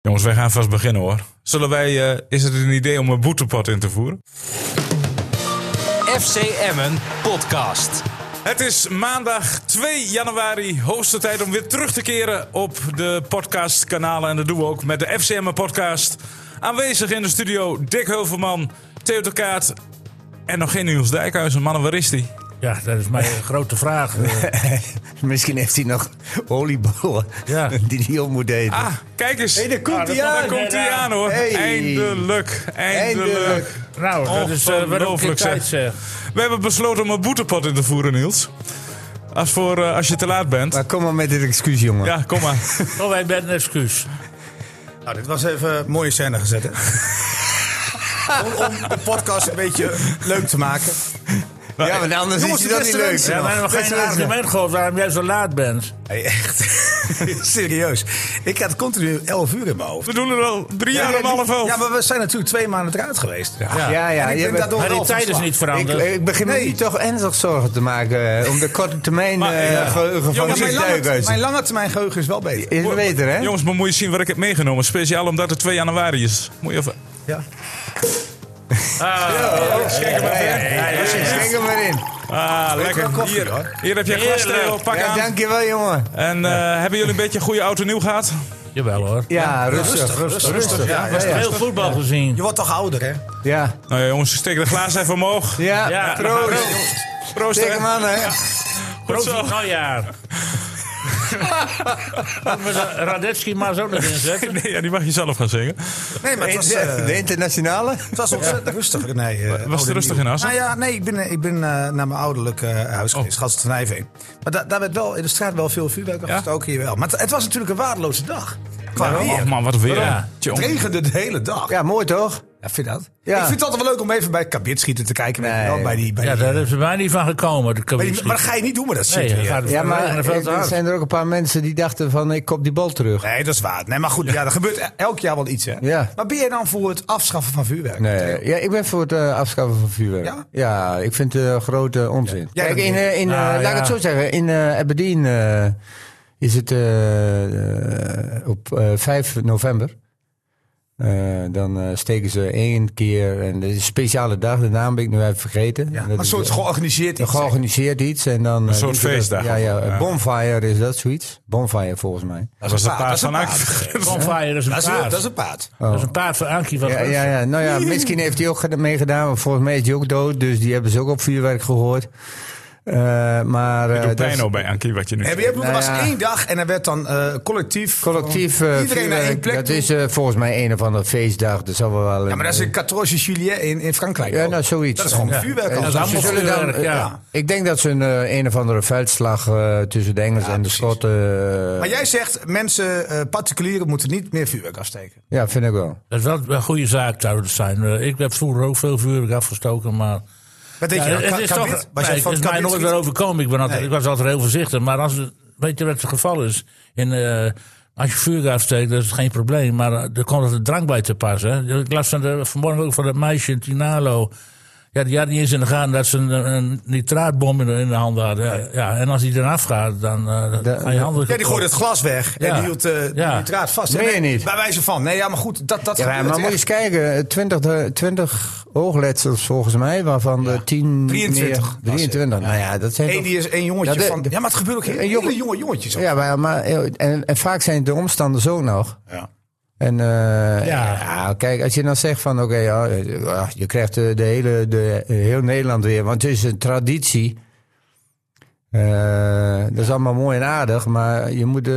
Jongens, wij gaan vast beginnen hoor. Zullen wij, eh, is het een idee om een boetepot in te voeren? FC Emmen podcast. Het is maandag 2 januari, hoogste tijd om weer terug te keren op de podcastkanalen. En dat doen we ook met de FCM podcast. Aanwezig in de studio Dick Heuvelman, Theo de Kaat en nog geen Niels Dijkhuizen. Mannen, waar is die? Ja, dat is mijn grote vraag. Eh, Misschien heeft hij nog oliebollen Ja. die hij om moet eten. Ah, kijk eens. Hé, daar komt hij Daar aan. komt hij aan hoor. Hey. Eindelijk, eindelijk. Eindelijk. nou, dat is eh wat ook Ongelooflijk, geen tijd zeg. We hebben besloten om een boetepot in te voeren, Niels. Als, voor, eh, als je te laat bent. Maar kom maar met dit excuus, jongen. Ja, kom maar. Oh, wij bent een excuus. Nou, dit was even een mooie scène gezet, hè? om, om de podcast een beetje leuk te maken. Ja, maar anders Jongens, is hij de dan niet beste leuk. wensen. Ja, maar nog Beste geen wensen. argument gehoord waarom jij zo laat bent. Hey, echt. Serieus. Ik had continu 11 uur in mijn hoofd. We doen er al drie jaar om half elf. Ja, maar we zijn natuurlijk twee maanden eruit geweest. Ja, Ja, ja, En ik je ben bent- daardoor Maar die wel tijd is verslagen. niet Ik, veranderd. ik begin me nu toch ernstig zorgen te maken eh, om de korte termijn Maar, eh, ja. geheugen van Jongens, Ja, Niels mijn, lange, Dijkhuizen. mijn lange termijn geheugen is wel beter. Is het beter, hè? Jongens, maar moet je zien wat ik heb meegenomen. Speciaal omdat het 2 januari is. Moet je even... Ja. Kijk er maar in. Ah, lekker. wel koffie, hier, hoor. hier heb je een glas, Heerlijk. Theo. Pak Ja, aan. dankjewel, jongen. En eh, hebben jullie een beetje een goede auto nieuw gehad? Jawel hoor. Ja, rustig. Rustig, rustig, rustig. Ja, ja, ja. Heel voetbal gezien. Je wordt toch ouder, hè? Ja, Nou ja, jongens, steek de glazen even omhoog. ja. Ja, Proost. Proost, Dikke hè. man, hè? Goed Proost zo. op nieuwjaar. Moeten we de Radetski maar zo erin zetten? Nee, ja, die mag je zelf gaan zingen. Nee, maar het was, eh, De internationale? het was ontzettend rustig. Nee, eh, Was het rustig in Assen? Nou ja, nee, ik ben, eh, ik ben eh, naar mijn ouderlijk eh, huis geweest, Gasten van Nijveen. Maar da- daar werd wel in de straat wel veel vuurwerk Ja? afgestoken hier wel. Maar het, het was natuurlijk een waardeloze dag. Qua weer. Och man, wat weer. hè. Ja. Tjong. Het regende de hele dag. Ja, Ja, mooi toch? vind je dat? Ja. Ik vind het altijd wel leuk om even bij het kabitschieten te kijken. weet je Nee. wel, bij die, bij Ja, die- daar is er mij niet van gekomen. Dat kan bij niet. die- maar dat ga je niet doen met dat Nee, shit dat weer. gaat Ja, maar veel te er hard. zijn er ook een paar mensen die dachten van ik kop die bal terug. Nee, dat is waar. Nee, maar goed, ja. er gebeurt e- elk jaar wel iets. Hè? Ja. Maar ben je dan voor het afschaffen van vuurwerk? Nee, ja, ik ben voor het eh, afschaffen van vuurwerk. Ja? Ja? ik vind het eh, grote onzin. Ja, Kijk, dat Nou, in, niet. eh, in, eh, Ah, laat ja. ik het zo zeggen, in eh, Aberdeen eh, is het eh, eh, op eh, 5 november. Eh, dan eh, steken ze één keer, en dat is een speciale dag, de naam ben ik nu even vergeten. Ja, Dat maar een is, soort eh, georganiseerd iets. georganiseerd iets. En dan, eh, soort doen ze dat- feestdag Ja, of ja, zo, ja. bonfire is dat zoiets. Bonfire volgens mij. Dat was de Dat paas is een van paard. Akker. Bonfire is een Dat is, een- paard. dat is een paard. Dat is een paard voor Ankie van Ja, Russen. ja, ja, nou ja, misschien heeft hij ook ged- meegedaan. Maar volgens mij is hij ook dood. Dus die hebben ze ook op vuurwerk gehoord. Eh, maar eh, Doe dat pijn is ook bij Ankie wat je nu Heb je, er Nou was ja. één dag en er werd dan eh, collectief... collectief eh, gewoon Iedereen naar één vuurwerk. plek Dat toe. is eh, volgens mij een of andere feestdag. Dat zal wel wel Ja, maar dat is een 14 juillet in, in Frankrijk. Ja, ook. nou, zoiets. Dat is gewoon Ja. vuurwerk. Ja, al. dat is Ze allemaal zullen dan, vuurwerk, eh, ja. Ik denk dat ze een, eh, een of andere veldslag eh, tussen de Engelsen en de precies. Schotten... eh, Maar jij zegt, mensen, eh, particulieren moeten niet meer vuurwerk afsteken. Ja, vind ik wel. Dat is wel een goede zaak zou het zijn. Eh, Ik heb vroeger ook veel vuurwerk afgestoken, maar... Wat denk Ja, je nou? het Ka- is kabit? toch, Was nee, jij het van is het mij kabit nooit weer schieten? overkomen. Ik, ben altijd, Nee. ik was altijd heel voorzichtig. Maar als, het- weet je wat het geval is? In, eh, als je vuur afsteekt, dat is het geen probleem. Maar eh, er komt er drank bij te pas. Hè? Ik las van de, vanmorgen ook van dat meisje in Tinalo. Ja, die had niet eens in de gaten dat ze een, een nitraatbom in de, in de hand hadden. Ja, ja, en als die eraf gaat, dan eh De- ga je handen Ja, die gooide het glas weg en Ja. die hield eh, de Ja. nitraat vast. Meen je niet? Bij wijze van. Nee, ja, maar goed, dat, dat Ja, maar gebeurt moet je echt. eens kijken. eh, 20, 20 oogletsels volgens mij, waarvan de 10... 23. 23. Nou ja, dat zijn Eén toch- die is één jongetje Ja, de- van... Ja, maar het gebeurt ook Een hele jongen- jonge, jonge jongetjes. ook. Ja, maar, maar eh, en, en vaak zijn het de omstanders ook nog. Ja. En eh, ja. Ja. kijk, als je dan zegt van oké, ja, eh, ah, je krijgt eh, de hele, de, eh, heel Nederland weer, want het is een traditie. Eh, dat is allemaal mooi en aardig, maar je moet, eh,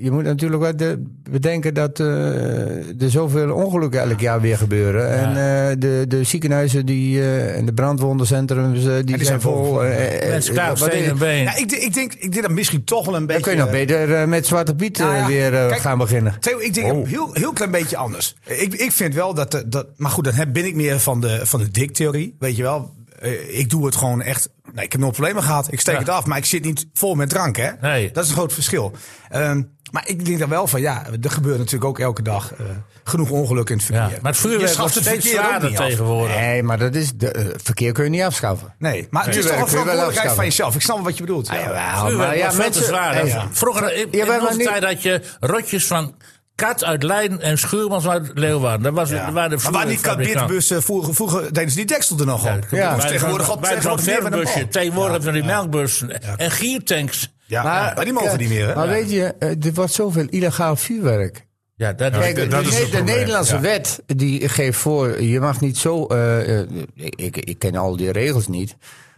je moet natuurlijk wel de, bedenken dat eh, er zoveel ongelukken elk jaar weer gebeuren. En eh, de, de ziekenhuizen die, eh, en de brandwondencentrums, eh, die, zijn zijn vol. vol. eh, eh, Mensen kaap, wat is- steen en been. Ja, ik, denk- ik denk ik denk dat misschien toch wel een beetje... dan kun je nog beter eh, met Zwarte Piet eh, Nou ja, weer eh, kijk, gaan beginnen. Theo, ik denk Oh. een heel, heel klein beetje anders. Ik, ik vind wel dat, de- dat... Maar goed, dan heb- ben ik meer van de, van de dik-theorie. Weet je wel? Eh, ik doe het gewoon echt... Nou, ik heb nooit problemen gehad. Ik steek Ja. het af, maar ik zit niet vol met drank, hè? Nee. Dat is een groot verschil. Ehm, maar ik denk dan wel van, ja, er gebeurt natuurlijk ook elke dag eh, genoeg ongelukken in het Ja, verkeer. maar het Je vuurwerk wordt schaft het steeds verkeer ook zwaarder niet af. tegenwoordig. Nee, maar dat is de, eh, verkeer kun je niet afschaffen. Nee, maar het is toch Vuurwerk een kun je wel verantwoordelijkheid van afschaffen. jezelf. Ik snap wat je Ah, bedoelt. ja. Jawel, Vuurwerk Ah, maar ja, was veel te mensen, zwaar, hè. eh, Vroeger, in, Ja, in maar onze nu- tijd had je rotjes van Kat uit Leiden en Schuurmans uit Leeuwarden. Dat was, Ja. dat waren de nou? maar waar niet kan vloeifabrikanten. Bitbussen vroeger, vroeger deden ze die deksel er nog op. Ja. Ja. Dus Bij tegenwoordig zo'n- op bij zo'n tegenwoordig meer met een melkbusje. bal. Tegenwoordig hebben ze die melkbussen. En giertanks. Ja, maar, die mogen kijk, niet meer. Hè? Maar weet je, eh, er wordt zoveel illegaal vuurwerk. Ja, dat Kijk, dat- de, dat is het de probleem, Nederlandse ja. wet die geeft voor, je mag niet zo. eh, eh, ik, ik ken al die regels niet.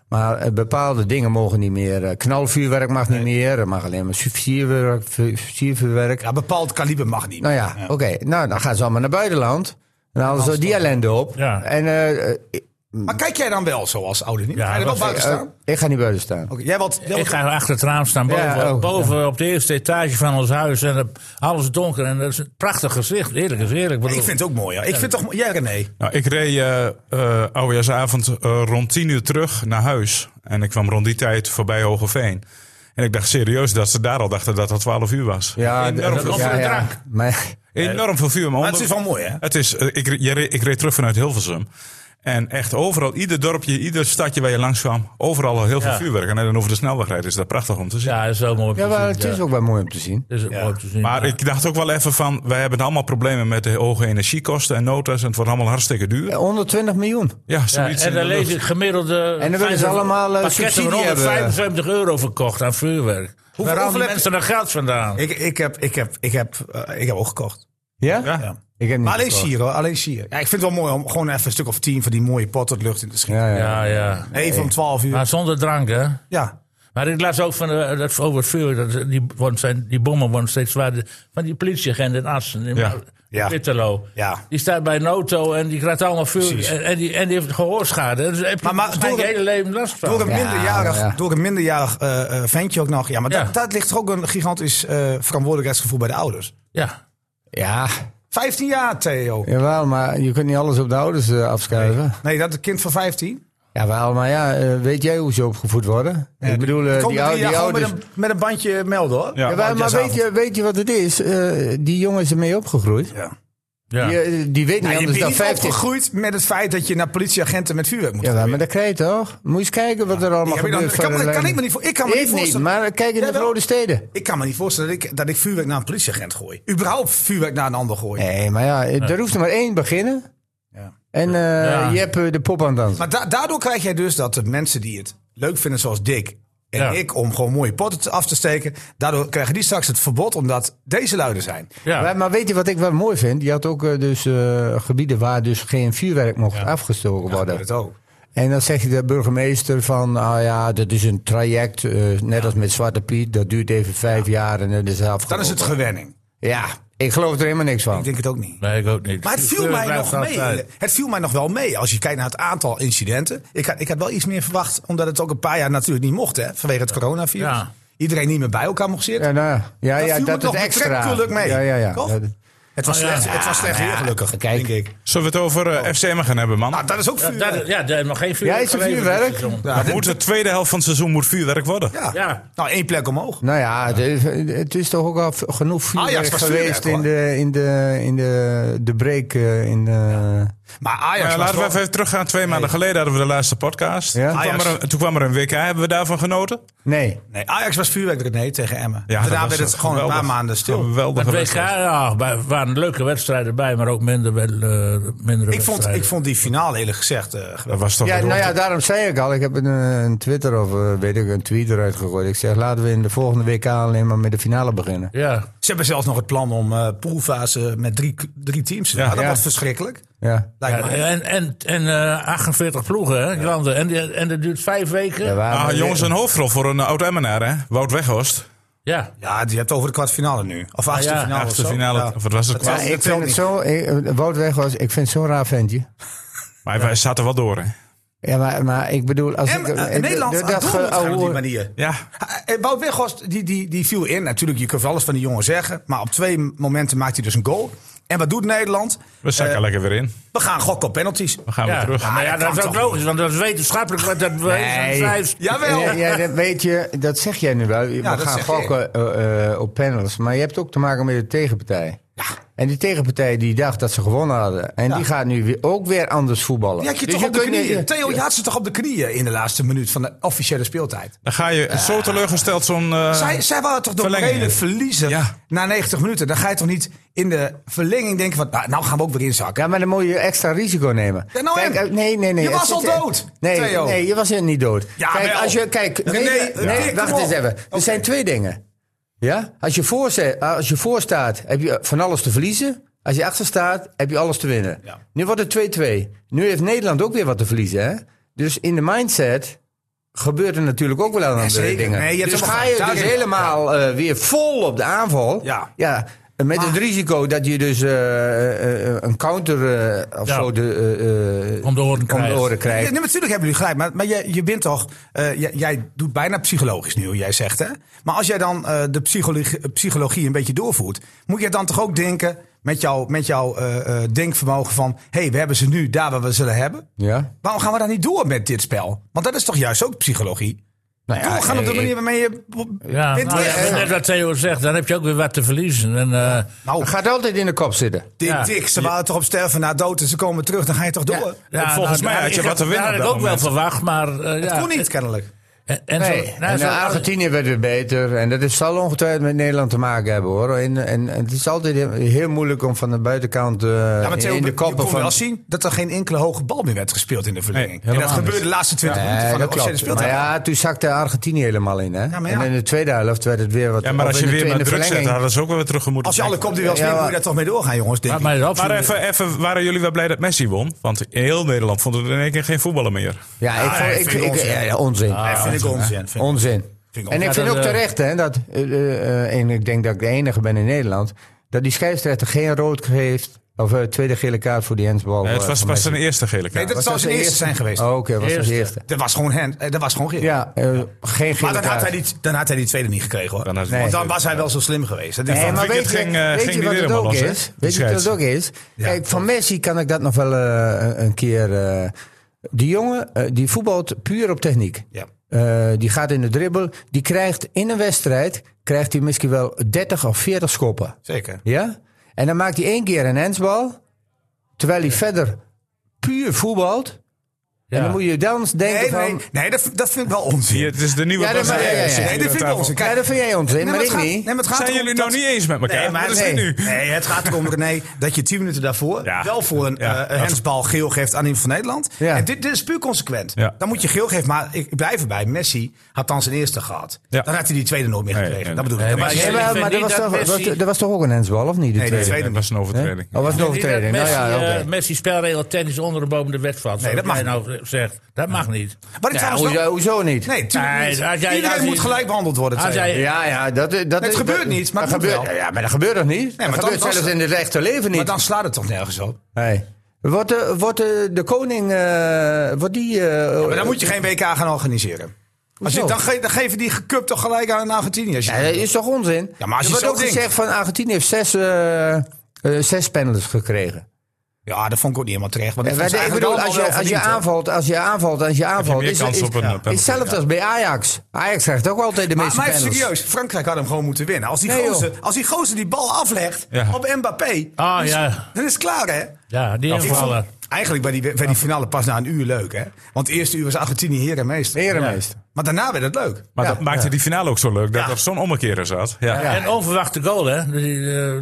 Maar eh, bepaalde dingen mogen niet meer. Eh, knalvuurwerk mag niet meer. Er mag alleen maar sufciervuurwerk. vu- sufciervuurwerk. Ja, bepaald kaliber mag niet. Nou ja, oké. Nou, dan gaan ze allemaal naar buitenland. Dan halen ze die ellende op. Ja. En eh, eh, ik- Maar kijk jij dan wel zoals ouder niet? Ja, Ga je er wel dat- buiten eh, staan? ik ga niet buiten staan. Oké, jij wat? jij Ik wat- ga achter het raam staan, boven, Ja, oh, boven op de eerste etage van ons huis. En eh, alles donker. En dat is een prachtig gezicht. Eerlijk is eerlijk. Ik bedoel- vind het ook mooi. Ja. Ik vind toch, jij René? Nou, ik reed eh eh, oudejaarsavond eh, rond tien uur terug naar huis. En ik kwam rond die tijd voorbij Hogeveen. En ik dacht serieus dat ze daar al dachten dat het 12 uur was. Ja, d- enorm, veel, was ja, een ja. drank. Maar, enorm veel vuur. Maar het is wel mooi, hè? Het is, eh, ik, re- je re- ik reed terug vanuit Hilversum. En echt overal, ieder dorpje, ieder stadje waar je langs kwam, overal al heel veel Ja. vuurwerk. En dan over de snelwegrijd is dat prachtig om te zien. Ja, dat is wel mooi. om te ja, maar zien, het ja. is ook wel mooi om te zien. Het is ook mooi om te zien. Maar ik dacht ook wel even van, wij hebben allemaal problemen met de hoge energiekosten en notas. En het wordt allemaal hartstikke duur. Eh, 120 miljoen. Ja, Ja, zoiets. en in de dan lees lucht. ik gemiddelde. En dan willen ze allemaal, eh, pakketten subsidie van hebben. 175 euro verkocht aan vuurwerk. Hoe Waar halen die hoeveel heb- mensen dat geld vandaan? Ik, ik, heb, ik, heb, ik, heb, eh, ik heb ook gekocht. Ja? Ja. Ik heb niet Maar alleen gekocht. sier, hoor, alleen sier. Ja, ik vind het wel mooi om gewoon even een stuk of tien van die mooie potten lucht in te schieten. Ja, ja, ja. ja. Even om twaalf uur. Maar zonder drank, hè? Ja. Maar ik las ook van, eh, dat over het vuur, dat, die, worden zijn, die bommen worden steeds zwaarder. Van die politieagent in Assen, in Ja. Ma- Ja. Bitterlo. Ja. Die staat bij Noto en die krijgt allemaal vuur. Precies. En, en die, en die heeft gehoorschade. Dus daar heb je Maar- maar waarschijnlijk door- je hele leven last van. Door een Ja, minderjarig, ja. Door een minderjarig eh, eh, ventje ook nog. Ja, maar Ja. Dat, dat ligt toch ook een gigantisch eh, verantwoordelijkheidsgevoel bij de ouders. Ja. Ja, 15 jaar, Theo. jawel, maar je kunt niet alles op de ouders eh, afschuiven. Nee, dat kind van 15. Jawel, maar ja, eh, weet jij hoe ze opgevoed worden? ik bedoel, eh, Komen die, drie ou- jaar die gewoon ouders... Met een, met een bandje melden, hoor. Ja. Jawel, maar weet je, weet je wat het is? Eh, die jongen is ermee opgegroeid. Ja. ja. Die, eh, die weet niet Ja, je anders bent dan niet 50. opgegroeid met het feit dat je naar politieagenten met vuurwerk moet. Jawel, maar dat krijg je toch? Moet je eens kijken wat er allemaal Ja, maar dan- gebeurt. kan- voor de kan ik lijn. me niet voor- ik kan me niet voorstellen. maar kijk in de Jawel. grote steden. Ik kan me niet voorstellen dat ik, dat ik vuurwerk naar een politieagent gooi. Überhaupt vuurwerk naar een ander gooi. Nee, maar ja, eh, er hoeft er maar één beginnen. Ja. En eh, Ja. je hebt eh, de pop aan het dansen. Maar da- daardoor krijg jij dus dat de mensen die het leuk vinden, zoals Dick en Ja. ik, om gewoon mooie potten te- af te steken, daardoor krijgen die straks het verbod omdat deze luiden zijn. ja. Maar, maar weet je wat ik wel mooi vind? Je had ook eh, dus eh, gebieden waar dus geen vuurwerk mocht afgestoken worden. Dat ook. En dan zeg je de burgemeester van, ah ja, dat is een traject, eh, net als met Zwarte Piet, dat duurt even vijf jaar en dan is het afgelopen. Dan is het gewenning. Ja, ik geloof er helemaal niks van. Ik denk het ook niet. Nee, ik ook niet. Maar het viel, mij Vuurwerk nog blijft mee. eh, altijd. Het viel mij nog wel mee als je kijkt naar het aantal incidenten. Ik had, ik had wel iets meer verwacht, omdat het ook een paar jaar natuurlijk niet mocht, hè, vanwege het coronavirus. Ja. Iedereen niet meer bij elkaar mocht zitten. Ja, nou, ja, dat ja, viel dat me is nog extra. betrekkelijk mee. Ja, ja, ja. Toch? Dat- Het was Oh, ja. slecht, het was slecht weer, gelukkig. kijk. denk ik. Zullen we het over eh, FCM gaan hebben, man? Nou, dat is ook Ja, vuurwerk. daar- ja, daar heeft nog geen vuurwerk. Ja, is er geleverd vuurwerk? dit seizoen. Ja, dit- moet de tweede helft van het seizoen moet vuurwerk worden. ja. Ja. Nou, één plek omhoog. Nou ja, het is, het is toch ook al v- genoeg Ah, vuurwerk Ajax was geweest vuurwerk, in, de, in, de, in de, de break. eh, In de, Maar Maar Ajax Nou ja, was laten we wel- even teruggaan. Twee maanden geleden hadden we de laatste podcast. Ja. Toen, kwam Ajax. er een, toen kwam er een WK. Hebben we daarvan genoten? Nee. Nee, Ajax was vuurwerk René tegen Emmen. Ja, dat Daarna was werd het gewoon een geweldig. paar maanden stil. Geweldige Het WK, wedstrijd. ja, bij- waren leuke wedstrijden bij, maar ook minder, wel, eh, mindere Ik vond, wedstrijden. ik vond die finale eerlijk gezegd eh, geweldig. Dat was toch Ja, weer nou ja, rond. daarom zei ik al. Ik heb een, eh, een Twitter of eh, weet ik, een tweet eruit gegooid. Ik zeg, laten we in de volgende WK alleen maar met de finale beginnen. Ja, Ze hebben zelfs nog het plan om eh poolfase met drie, drie teams te doen. Ja. Nou, Ja. dat was verschrikkelijk. Ja. Lijkt Ja, me. en, en, en eh, 48 ploegen, hè, landen. En, die- en dat duurt vijf weken. Ja, Ja, waar- Ah, jongens, een hoofdrol voor een oud Emmenaar, hè? Wout Weghorst. Nou, ja. Ja, die hebt over de kwartfinale nu. Of Ah, achtste ja, finale. achtste of zo. finale. Ja. Of wat was het? Dat kwart- Ja, was- ik telt vind het niet. zo, ik, eh, Wout Weghorst, ik vind het zo'n raar ventje. Maar wij zaten wel door, hè? Ja, maar, maar ik bedoel, als En, ik... eh, eh, Nederland d- aan dat het ge- oh, gaan op die ouwe- manier. Ja. Eh, Wout Weghorst, die, die, die viel in. Natuurlijk, je kunt wel alles van die jongen zeggen. Maar op twee momenten maakt hij dus een goal. En wat doet Nederland? We Eh, zakken lekker weer in. We gaan gokken op penalties. We gaan weer terug. Maar ja, dat dat kan is ook toch logisch, want dat is wetenschappelijk. Want dat nee. vijf, Jawel. Ja, ja, dat weet je, dat zeg jij nu wel. We dat gaan zeg gokken eh, eh, op panels. Maar je hebt ook te maken met de tegenpartij. En die tegenpartij die dacht dat ze gewonnen hadden. En Ja. die gaat nu weer, ook weer anders voetballen. Die had je Dus toch op de kunt niet- knieën. Theo, je had ze toch op de knieën in de laatste minuut van de officiële speeltijd. Dan ga je zo teleurgesteld zo'n... eh, zij, zij waren toch de verlenging. hele verliezer Ja. na 90 minuten. Dan ga je toch niet in de verlenging denken van, nou, nou gaan we ook weer inzakken. Ja, maar dan moet je extra risico nemen. Ja, nou en? eh, nee, nee, nee. Je Het was al zit- dood, eh, Nee, Theo. nee, je was er niet dood. Ja, kijk, wel. als je, kijk, nee, René, nee, Dick, kom wacht op. eens even. Er Oké. zijn twee dingen. Ja? Als je, voor, eh, als je voor staat, heb je van alles te verliezen. Als je achter staat, heb je alles te winnen. Ja. Nu wordt het 2-2. Nu heeft Nederland ook weer wat te verliezen. Hè? Dus in de mindset gebeurt er natuurlijk ook wel aan andere zeker. dingen. Nee, je hebt dus helemaal ga je gelijk. dus Daarin- helemaal eh, weer vol op de aanval. Ja. ja met het risico dat je dus eh, eh, een counter eh, of Ja. zo de, eh, eh, Om de oren krijgt. Ja, krijgt. nee, natuurlijk hebben jullie gelijk, maar, maar je, je bent toch, eh, j- jij doet bijna psychologisch nu, hoe jij zegt hè. Maar als jij dan eh, de psychologie, psychologie een beetje doorvoert, moet je dan toch ook denken met jouw met jouw eh, eh, denkvermogen van, hé, hey, we hebben ze nu daar waar we ze hebben. Ja. Waarom gaan we dan niet door met dit spel? Want dat is toch juist ook psychologie? Nou ja, doorgaan op de eh, manier waarmee je... Ja, Dit- nou, dit- ja, net wat Theo zegt, dan heb je ook weer wat te verliezen. En, eh, Nou, Het gaat altijd in de kop zitten. dik, ja. dik, ze waren toch op sterven na dood en ze komen terug, dan ga je toch door? ja, volgens nou, mij had ik je wat te winnen op Dat had ik dat ook wel moment. verwacht, maar... eh, ja. Dat kon niet, kennelijk. En, en zo- Nee, nou, en zo- eh, Argentinië werd weer beter. En dat is, zal ongetwijfeld met Nederland te maken hebben hoor. En, en, en het is altijd heel- heel moeilijk om van de buitenkant eh, Ja, maar in, Theo, in de je koppen kon van... wel zien dat er geen enkele hoge bal meer werd gespeeld in de verlenging. en dat helemaal gebeurde niet. de laatste 20 Nee, minuten van de dat officiële klopt. Maar speeltijd. ja, toen zakte Argentinië helemaal in. Hè? Ja, maar ja. En in de tweede helft werd het weer wat... ja, maar of als je Oh, in de weer tweede met druk zet, verlenging. hadden ze ook wel weer terug moeten Als je alle trekken. kopduels Ja, neemt, moet je maar- daar toch mee doorgaan, jongens, denk Laat ik. mij erop. Maar even, even, waren jullie wel blij dat Messi won? Want heel Nederland vond er in één keer geen voetballer meer. Ja, ik, Ah, vond- nee, ik, vind ik- ik onzin. Ah, ja, ja, onzin. Ja, vind ik onzin. vind ik. Onzin. Vind ik en onzin. ik vind dat, ook eh, terecht, hè, dat, eh, eh, eh, en ik denk dat ik de enige ben in Nederland, dat die scheidsrechter geen rood geeft, of eh, tweede gele kaart voor die handsbal. Nee, het eh, was van pas Messi. zijn eerste gele Nee, kaart. dat zou de zijn eerste zijn geweest. Oh, Oké, was dat de Eerste. eerste. Dat was gewoon hen. eh, Dat was gewoon Geel. Ja, eh, geen gele Maar dan kaart. had, hij die, dan had hij die tweede niet gekregen, hoor. Dan had hij- Want dan Nee. was hij wel zo slim geweest. Dat is Nee, van- maar Vickert weet je, ging, eh, weet ging je die wat het helemaal ook los, hè? is? Die Weet je wat het scheids. ook is? Ja. Kijk, van Messi kan ik dat nog wel eh, een keer... eh, die jongen, eh, die voetbalt puur op techniek. Ja. Eh, die gaat in de dribbel. Die krijgt in een wedstrijd krijgt hij misschien wel 30 of 40 schoppen. Zeker. Ja? En dan maakt hij één keer een handsbal. Terwijl hij verder puur voetbalt. En dan moet je dan denken Nee, van... nee, nee dat, dat vind ik wel Hier, onzin. het is de nieuwe Ja, dat- Brazilië. ja, ja, ja. Zit hier Nee, aan dat vind ik tafel. onzin. Kijk, Ja, dat vind jij onzin, nee, maar het ik gaat- niet. nee, maar het gaat Zijn erom jullie dat- nou niet eens met elkaar? Nee, maar Wat is dit nee. nu? Nee, het gaat erom, René, dat je tien minuten daarvoor Ja. wel voor een, Ja. eh, een handsbal geel geeft aan iemand van Nederland. Ja. En dit, dit is puur consequent. Ja. Dan moet je geel geven, maar ik ik blijf erbij. Messi had dan zijn eerste gehad. Ja. Dan had hij die tweede nooit meer Nee, gekregen. nee, dat bedoel ik. nee, Nee, maar- Nee, maar, Ik vind maar er, niet was dat toch, Messi- was- er was toch ook een handsbal, of niet? De Nee, de tweede. tweede Dat was een overtreding. Oh, was het een Ik denk dat overtreding? Nou Messi, ja, eh, oké. Messi spelregel technisch onder en boven de wet valt. zoals dat mag jij nou zegt. Dat mag niet. Wat Ja, ik trouwens hoezo, wel- hoezo niet? Nee, tuurlijk Nee, niet. als jij- Iedereen als je- moet gelijk behandeld worden. als Theo. jij- Ja, ja, dat, eh, dat Het is- gebeurt dat- niet, maar dat het moet gebeurt, wel. Ja, maar dat gebeurt toch niet? maar dat dan gebeurt was- zelfs in het echte leven Maar niet. dan slaat het toch nergens op. Nee. Wordt, eh, wordt eh, de koning... eh, wordt die... eh, Maar dan moet je geen WK gaan organiseren. Als je, Hoezo? dan, ge- dan geven die gekupt toch gelijk aan Argentinië. Als je Ja, dat is toch onzin? Ja, maar als er je wordt zo ook denkt. gezegd van Argentinië heeft zes, eh, eh, zes penalties gekregen. Ja, dat vond ik ook niet helemaal terecht. Want ik Eh, vond maar ze ik dus eigenlijk bedoel, allemaal als wel je, als je verdiend, hoor. aanvalt, als je aanvalt, als je aanvalt... meer kans op een, eh, penalty, Hetzelfde als bij Ajax. Ajax krijgt ook altijd de Maar, meeste maar even penalties. serieus, Frankrijk had hem gewoon moeten winnen. Als die, Nee, gozer, joh. als die gozer die bal aflegt Ja. op Mbappé, Ah, dan, is, ja. dan is het klaar hè. Ja, die Ik vond- invallen. eigenlijk bij die, bij die finale pas na een uur leuk hè. Want het eerste uur was Argentinië heer en meester. Herenmeester. Maar daarna werd het leuk. Maar dat maakte die finale ook zo leuk, dat Ja. er zo'n ommekeer in zat. Ja. En onverwachte goal, hè? Dus,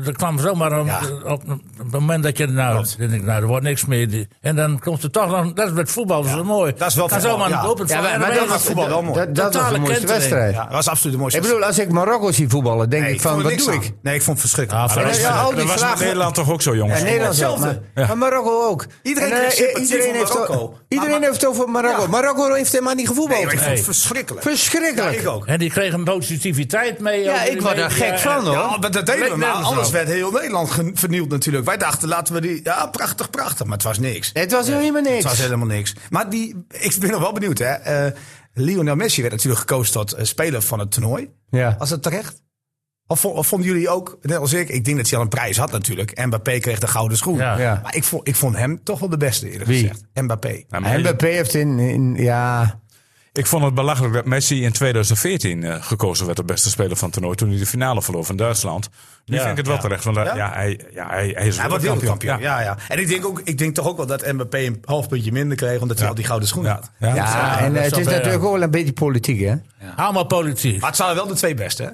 eh, dat kwam zomaar op, Ja. op, op het moment dat je. Nou, Klopt. denk ik, nou, er wordt niks meer. Die- En dan komt er toch dan. Dat is met voetbal zo mooi. Dat is wel kan voetbal, zomaar ja. een doelpunt Ja, vallen maar, en maar dan dat ben je was, voetbal wel mooi. dat, dat was Totale de mooiste kentering. wedstrijd. Ja, dat was absoluut de mooiste. Ik bedoel, als ik Marokko zie voetballen, denk Nee, ik van, vond er wat niks doe aan. ik? Nee, ik vond het verschrikkelijk. Ah, Maar verrest- dat, Ja, ja, al die dat was met vragen- Nederland toch ook zo, jongens? Ja, Nederland wel, Hetzelfde. Maar, maar Marokko ook. Iedereen En, eh, heeft sympathie iedereen voor heeft Marokko. ook- Maar- Iedereen maar- heeft het over Marokko. Ja. Marokko heeft helemaal niet nee, gevoetbald. maar ik vond het Nee. verschrikkelijk. Verschrikkelijk. Ja, ik ook. En die kreeg een positiviteit mee. Ja, over ik die word er media gek en- van, hoor. Ja, maar dat deden we. Leek Maar nergens alles op. werd heel Nederland ge- vernield natuurlijk. Wij dachten, laten we die... Ja, prachtig, prachtig. Maar het was niks. Nee, Het was helemaal niks. Het was helemaal niks. Maar die, ik ben nog wel benieuwd, hè. Eh, Lionel Messi werd natuurlijk gekozen tot eh, speler van het toernooi. Ja. Was dat terecht? Of, vo- of vonden jullie ook, net als ik, ik denk dat hij al een prijs had natuurlijk. Mbappé kreeg de gouden schoen. Ja. Ja. Maar ik vond, ik vond hem toch wel de beste eerlijk Wie? gezegd. Mbappé. Ja, maar- En Mbappé heeft in, in- ja... Ik vond het belachelijk dat Messi in 2014 eh, gekozen werd de beste speler van het toernooi. toen hij de finale verloor van Duitsland. Nu Ja, vind ik het wel ja. terecht, want hij- Ja? ja? hij, ja, hij, hij is Hij wordt wereldkampioen. Ja. Ja, En ik denk, ook, ik denk toch ook wel dat Mbappé een half puntje minder kreeg. omdat hij al die gouden schoen Ja. had. Ja. Ja, en dat eh, het zou is bij- natuurlijk ook wel een beetje politiek, hè? Allemaal politiek. Maar het waren wel de twee beste. hè?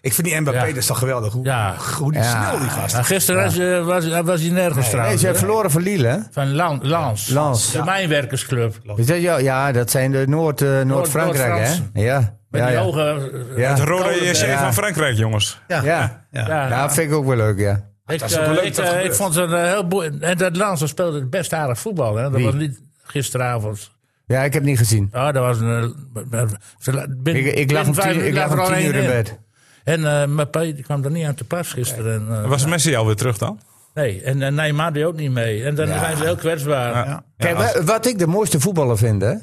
Ik vind die Mbappé, Ja. dat is toch geweldig. Hoe, Ja. hoe die Ja. snel die gast. Nou, gisteren was, eh, was, was hij nergens Nee, trouwens. ze hebben hè? verloren van Lille, hè? Van Lan- Lans. Lans. De mijnwerkersclub. Is dat jou- ja, dat zijn de Noord, eh, Noord-Frankrijk, Noord-Fransen. hè? Ja. Met ja, die ja. ogen. eh, Ja. Het rode JC Ja. van Frankrijk, jongens. Ja. Ja. Ja, dat vind ik ook wel leuk, ja. Ik, is ook wel eh, leuk ik, dat het eh, ik gebeurt. vond het een heel boeiend. En dat Lans dat speelde best aardig voetbal. Hè? Dat Wie? was niet gisteravond. Ja, ik heb niet gezien. Ah, dat was een. eh, ze la- binnen- Ik, ik lag binnen om vijf tien, ik minuten lag er om al tien één uur in bed. En eh Mbappé die kwam er niet aan te pas gisteren. En, eh, Was Messi alweer terug dan? nee, en eh, Neymar deed ook niet mee. En dan zijn ze heel kwetsbaar. Kijk, wa- wat ik de mooiste voetballer vind, hè,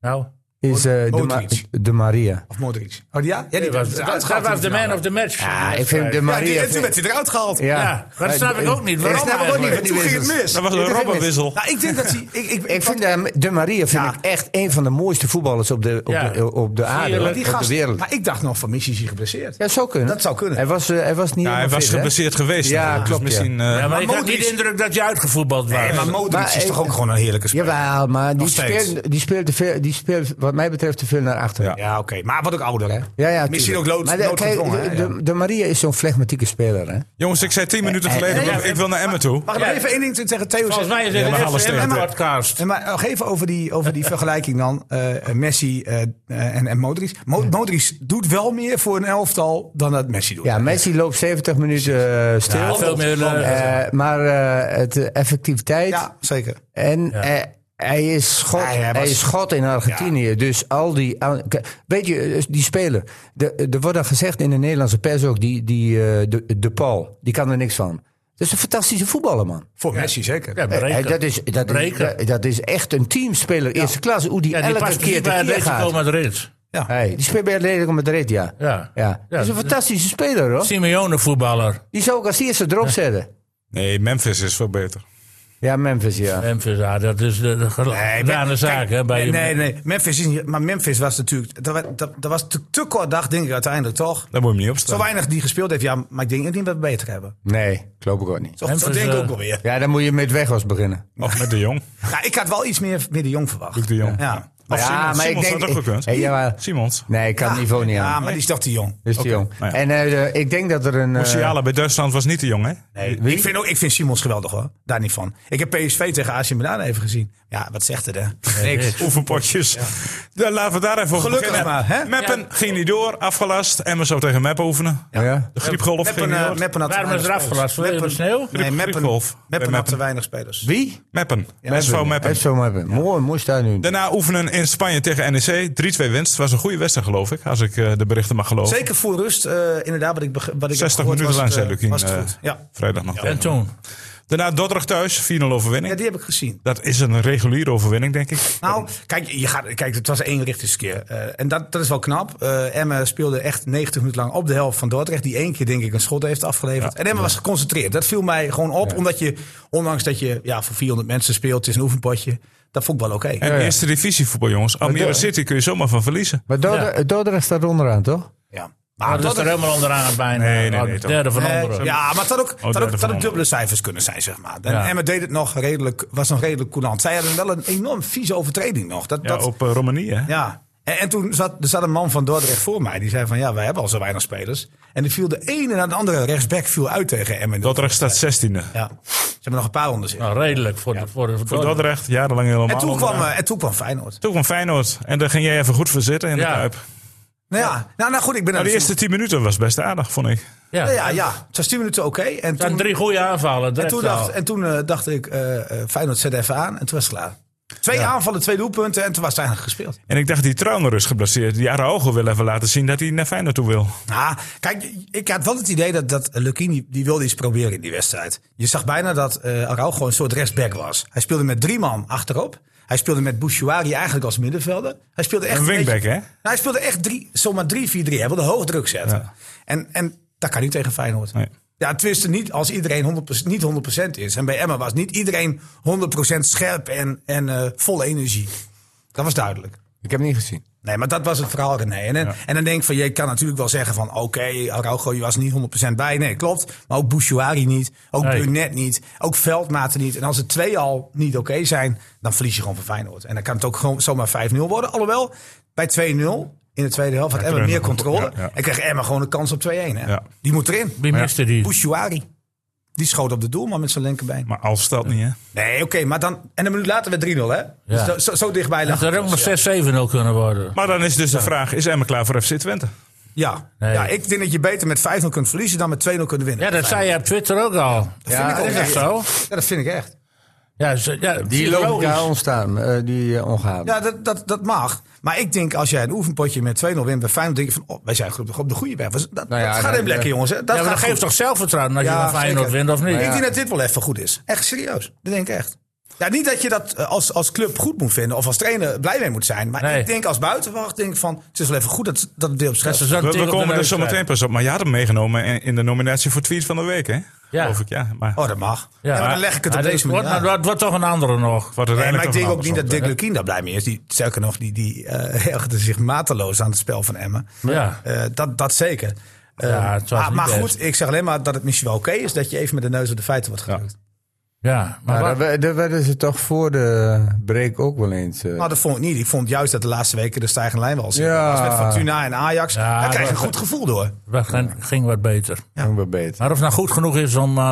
Nou, is eh, de, Ma- Modric. de Maria. Of Modric. Oh ja? Ja, die dat was, is dat, uitgehaald was in de man finale. of the match. Ja, ik vind de Ja, die- Maria... en toen werd hij eruit gehaald. ja. Ja, maar dat snap ik ook niet. Waarom Ik snap ook niet eigenlijk? van die dus. Toen ging wissels. het mis. Dat was een dit is robberwissel. Nou, ik denk dat hij... Ik, ik, Ik vind de, de Maria vind Ja. ik echt een van de mooiste voetballers op de, op Ja. de, op de aarde, Heerlijk. hoor, Maar die op gast, de wereld. maar ik dacht nog van Missy is hier geblesseerd. Ja, zou kunnen. Dat zou kunnen. Hij was, eh, hij was niet Ja, hij helemaal was fit, hè? geblesseerd geweest. Ja, Dus klopt, ja. Misschien, eh, Ja, maar, Maar ik had Modric- niet de indruk dat je uitgevoetbald was. Nee, maar Modric Maar is ik- toch ook gewoon een heerlijke speler. Jawel, maar die Nog steeds. speelt, die, speelt te veel, die speelt wat mij betreft te veel naar achteren. Ja, oké. Maar wat ook ouder, hè? Ja, ja, Misschien ook tuurlijk. lood, Maar de, kijk, noodgedwongen, de, hè? Ja. de- de Maria is zo'n flegmatieke speler, hè? Jongens, ik zei tien minuten eh, geleden, eh, ik- ik wil naar Emmen toe. Mag ik nog Ja. even één ding tegen Theo Volgens mij is zeggen? het maar een alles tegen. FCM podcast. En maar nog even over die, over die vergelijking dan. eh, eh, Messi eh, eh, en, en Modric. Mo- Modric doet wel meer voor een elftal dan dat Messi doet. Ja, Messi loopt 70 minuten eh, stil. Ja, veel meer, eh, Eh, maar eh, het, eh, effectiviteit. Ja, zeker. En eh, hij is schot. Ja, hij hij, was- is schot in Argentinië. Dus al die. aan- k- Weet je, eh, die speler. de- Er wordt dan gezegd in de Nederlandse pers ook. Die, die, eh, de, de Paul. Die kan er niks van. Dat is een fantastische voetballer, man. Voor Messi zeker. Ja, maar Eh, reken. dat, is, dat, is, Breken. dat, dat is echt een teamspeler eerste klasse. Hoe die Ja, die elke past precies keer bij tekeer Atletico gaat. Madrid. Oh. Hey, die speelt bij Atletico Madrid, ja. Ja. ja. Ja, Dat is een dat- fantastische speler, hoor. Simeone voetballer. Die zou ik als eerste erop zetten. Nee, Memphis is veel beter. Ja, Memphis, ja. Memphis, ja, dat is de, de Nee, gedane Mem- zaak. kijk, Hè, bij nee, nee, nee. Memphis is niet, maar Memphis was natuurlijk. Dat, wa- dat, dat was te, te kort dag, denk ik uiteindelijk toch? Daar moet je hem niet Zo opstaan. weinig die gespeeld heeft. Ja, maar ik denk niet dat we beter hebben. Nee, geloof ik ook niet. Zo, Memphis, dat denk ik eh, ook wel weer. Ja, dan moet je met Weghorst beginnen. Of met de Jong. Ja, ik had wel iets meer, meer de jong verwacht. Luc de Jong. Ja. Of Ja, Simons. maar ik Simons denk- had ook gekund. Hey, ja, maar- Simons. Nee, ik kan het niveau niet Ja, aan. maar die is toch te jong. Dus die jong. nou ja. En eh, ik denk dat er een... eh, Musiala bij Duitsland was niet de jong, hè? Ik, vind ook, ik vind Simons geweldig hoor. Daar niet van. Ik heb PSV tegen AC Milan even gezien. Ja, wat zegt het hè? Niks. Oefenpotjes. Dan laten we daar even over Gelukkig beginnen. maar, hè? Meppen ging niet door, afgelast. Emmen zou tegen Meppen oefenen. ja. De griepgolf ging Meppen, niet eh, door. Meppen had te Waarom is er weinig spelers. afgelast? Vanwege de Meppen- sneeuw? Nee, Meppen, Griepgolf. Bij Meppen had Meppen. te weinig spelers. Wie? Meppen. SV Meppen. Zo Meppen. Mooi, mooi stadion. Daarna oefenen in Spanje tegen NEC. 3-2 winst. Was een goede wedstrijd, geloof ik. Als ik eh, de berichten mag geloven. Zeker voor rust, eh, inderdaad, wat ik, beg- wat ik 60 heb gehoord, minuten lang, was het, zei eh, Lukien. was het eh, goed. Ja. Vrijdag nog. En toen? Daarna Dordrecht thuis. 4-0 ja, overwinning. die heb ik gezien. Dat is een reguliere overwinning, denk ik. Nou, kijk, je gaat, kijk het was een eenrichtingskeer. Eh en dat, dat is wel knap. Eh Emmen speelde echt 90 minuten lang op de helft van Dordrecht. Die één keer, denk ik, een schot heeft afgeleverd. en Emmen was geconcentreerd. Dat viel mij gewoon op. Omdat je, ondanks dat je ja, voor 400 mensen speelt, het is een oefenpotje. Dat vond ik wel oké. En Ja, ja. eerste divisie voetbal, jongens. Almere door. City kun je zomaar van verliezen. Maar Dordrecht, Dordrecht staat onderaan, toch? Ja. Ah, Maar dat is er helemaal onderaan bijna. Nee, nee, Oh, nee, toch. derde van eh, onderen. ja, maar het had ook, het had derde ook, van het had ook onder. dubbele cijfers kunnen zijn, zeg maar. En Ja. Emmen deed het nog redelijk, was nog redelijk coulant. Zij hadden wel een enorm vieze overtreding nog. Dat, Ja, dat, op eh, Romanië. hè? Ja. En, en toen zat, er zat een man van Dordrecht voor mij. Die zei van, ja, wij hebben al zo weinig spelers. En die viel de ene na de andere rechtsback viel uit tegen Emmen. Dordrecht staat 16e. Ja. Ze hebben nog een paar onder zich. Nou, redelijk voor, de, voor, de, voor Voor Dordrecht, jarenlang helemaal. en, toen kwam, onderaan. eh, en toen kwam Feyenoord. Toen kwam Feyenoord. En daar ging jij even goed voor zitten in de Ja. Kuip. Nou ja, nou, nou goed, ik ben Nou, aan de het eerste 10 minuten was best aardig, vond ik. Ja, zoeken. er Ja, ja. Het was 10 minuten oké. En zijn toen, drie goede aanvallen. en toen, dacht, dacht, en toen eh, dacht ik, eh, eh, Feyenoord zet even aan. En toen was het klaar. Twee aanvallen, twee doelpunten. En toen was het eigenlijk gespeeld. En ik dacht, die Trauner is geblesseerd. Die Araujo wil even laten zien dat hij naar Feyenoord toe wil. Nou, kijk, ik had wel het idee dat, dat Lukien die, die wilde iets proberen in die wedstrijd. Je zag bijna dat eh Araujo een soort rechtsback was. Hij speelde met drie man achterop. Hij speelde met Bouchouari eigenlijk als middenvelder. Hij speelde echt Een wingback, beetje- hè? Nou, hij speelde echt drie, zomaar 3-4-3. Hij wilde hoog druk zetten. En, en dat kan niet tegen Feyenoord. Nee. Ja, tenminste niet als iedereen 100%, niet 100% is. En bij Emma was niet iedereen 100% scherp en, en eh, vol energie. Dat was duidelijk. Ik heb hem niet gezien. Nee, maar dat was het verhaal, René. En, dan- en dan denk ik van, je kan natuurlijk wel zeggen van... oké, Araujo, je was niet 100% bij. Nee, klopt. Maar ook Bouchouari niet. Ook Nee. Brunet niet. Ook Veldmaten niet. En als er twee al niet oké zijn, dan verlies je gewoon van Feyenoord. En dan kan het ook gewoon zomaar 5-0 worden. Alhoewel, bij 2-0 in de tweede helft had Emma Emmen meer nog- controle. ja, ja. En kreeg Emma gewoon een kans op 2-1. Hè? Ja. Die moet erin. Wie ja. miste die? Bouchouari. Die schoot op de doelman met zijn linkerbeen. Maar als dat niet, hè? Nee, oké, maar dan... En een minuut later weer 3-0, hè? Dus zo, zo, zo dichtbij Dat lag had het er ook dus, ja. nog 6-7-0 kunnen worden. Maar dan is dus de vraag, is Emmen klaar voor FC Twente? Ja. Nee. ja, ik denk dat je beter met 5-0 kunt verliezen dan met 2-0 kunnen winnen. Ja, dat zei je op Twitter ook al. Dat vind ik dat ook is echt. echt zo. Ja, dat vind ik echt. Ja, ze- ja, Die psychologisch. logica ontstaan, eh, die eh, ongehaald. Ja, dat, dat, dat mag. Maar ik denk als jij een oefenpotje met 2-0 wint bij Feyenoord, denk je van, oh, wij zijn op de, op de goede weg. Dat, dat Nou ja, gaat dat- hem lekker, dat- jongens. Hè? Dat Ja, maar gaat dat geeft goed. toch zelfvertrouwen als je Ja, van Feyenoord zeker. wint of niet? Ik denk dat dit wel even goed is. Echt serieus. Dat denk ik echt. Ja, niet dat je dat eh, als, als club goed moet vinden of als trainer blij mee moet zijn. Maar Nee. ik denk als buitenwacht, denk ik van, het is wel even goed dat, dat het weer op scherp Dat ze staat. zo'n We, tik we op de komen er neus zo meteen krijgen. pas op. Maar je had hem meegenomen in- in de nominatie voor tweet van de week, hè? Ja. Geloof ik, ja. Maar Oh, dat mag. Ja, Ja. maar dan leg ik het Maar op dit deze wordt- manier aan. nou, Dat wordt toch een andere nog. wat Nee, maar uiteindelijk ik toch denk een ook niet dat ander Dick Lukien daar blij mee is. Die, sterker nog, die, die eh, ergerde zich mateloos aan het spel van Emmen. Ja. Eh, dat, dat zeker. Eh, Ja, het was maar niet maar best. goed, ik zeg alleen maar dat het misschien wel oké is... dat je even met de neus op de feiten wordt gedrukt. Ja, maar Nou, wat- dat, we- dat werden ze toch voor de break ook wel eens. eh. Nou, dat vond ik niet. Ik vond juist dat de laatste weken de stijgende lijn was. Ja. Als met Fortuna en Ajax, Ja, daar krijg je een dat- goed gevoel door. dat ging- ging wat beter. Nog wel beter. Maar of het nou goed genoeg is om eh,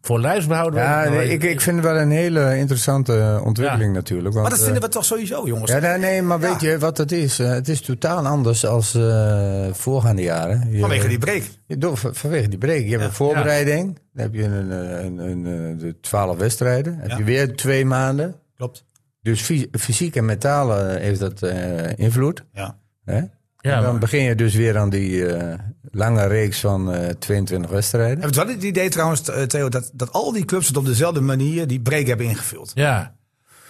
voor Nou, lijfsbehouden... Ja, nee, ik, ik vind het wel een hele interessante eh, ontwikkeling natuurlijk. Want, Maar eh, dat vinden we toch sowieso, jongens. Ja, nee, nee, maar weet Ja. je wat het is? Eh, het is totaal anders als eh, voorgaande jaren. Je- eh, Vanwege die break. je- door- van- vanwege die break. Je hebt een voorbereiding. Dan heb je een, eh, een, een, eh, de twaalf wedstrijden. Dan Ja. heb je weer twee maanden. Klopt. Dus fy- fysiek en mentaal eh, heeft dat eh, invloed. Ja. Hè? Ja, En dan maar- begin je dus weer aan die eh, lange reeks van eh, 22 wedstrijden. Heb je wel het idee trouwens, eh, Theo... Dat, dat al die clubs het op dezelfde manier die break hebben ingevuld? ja.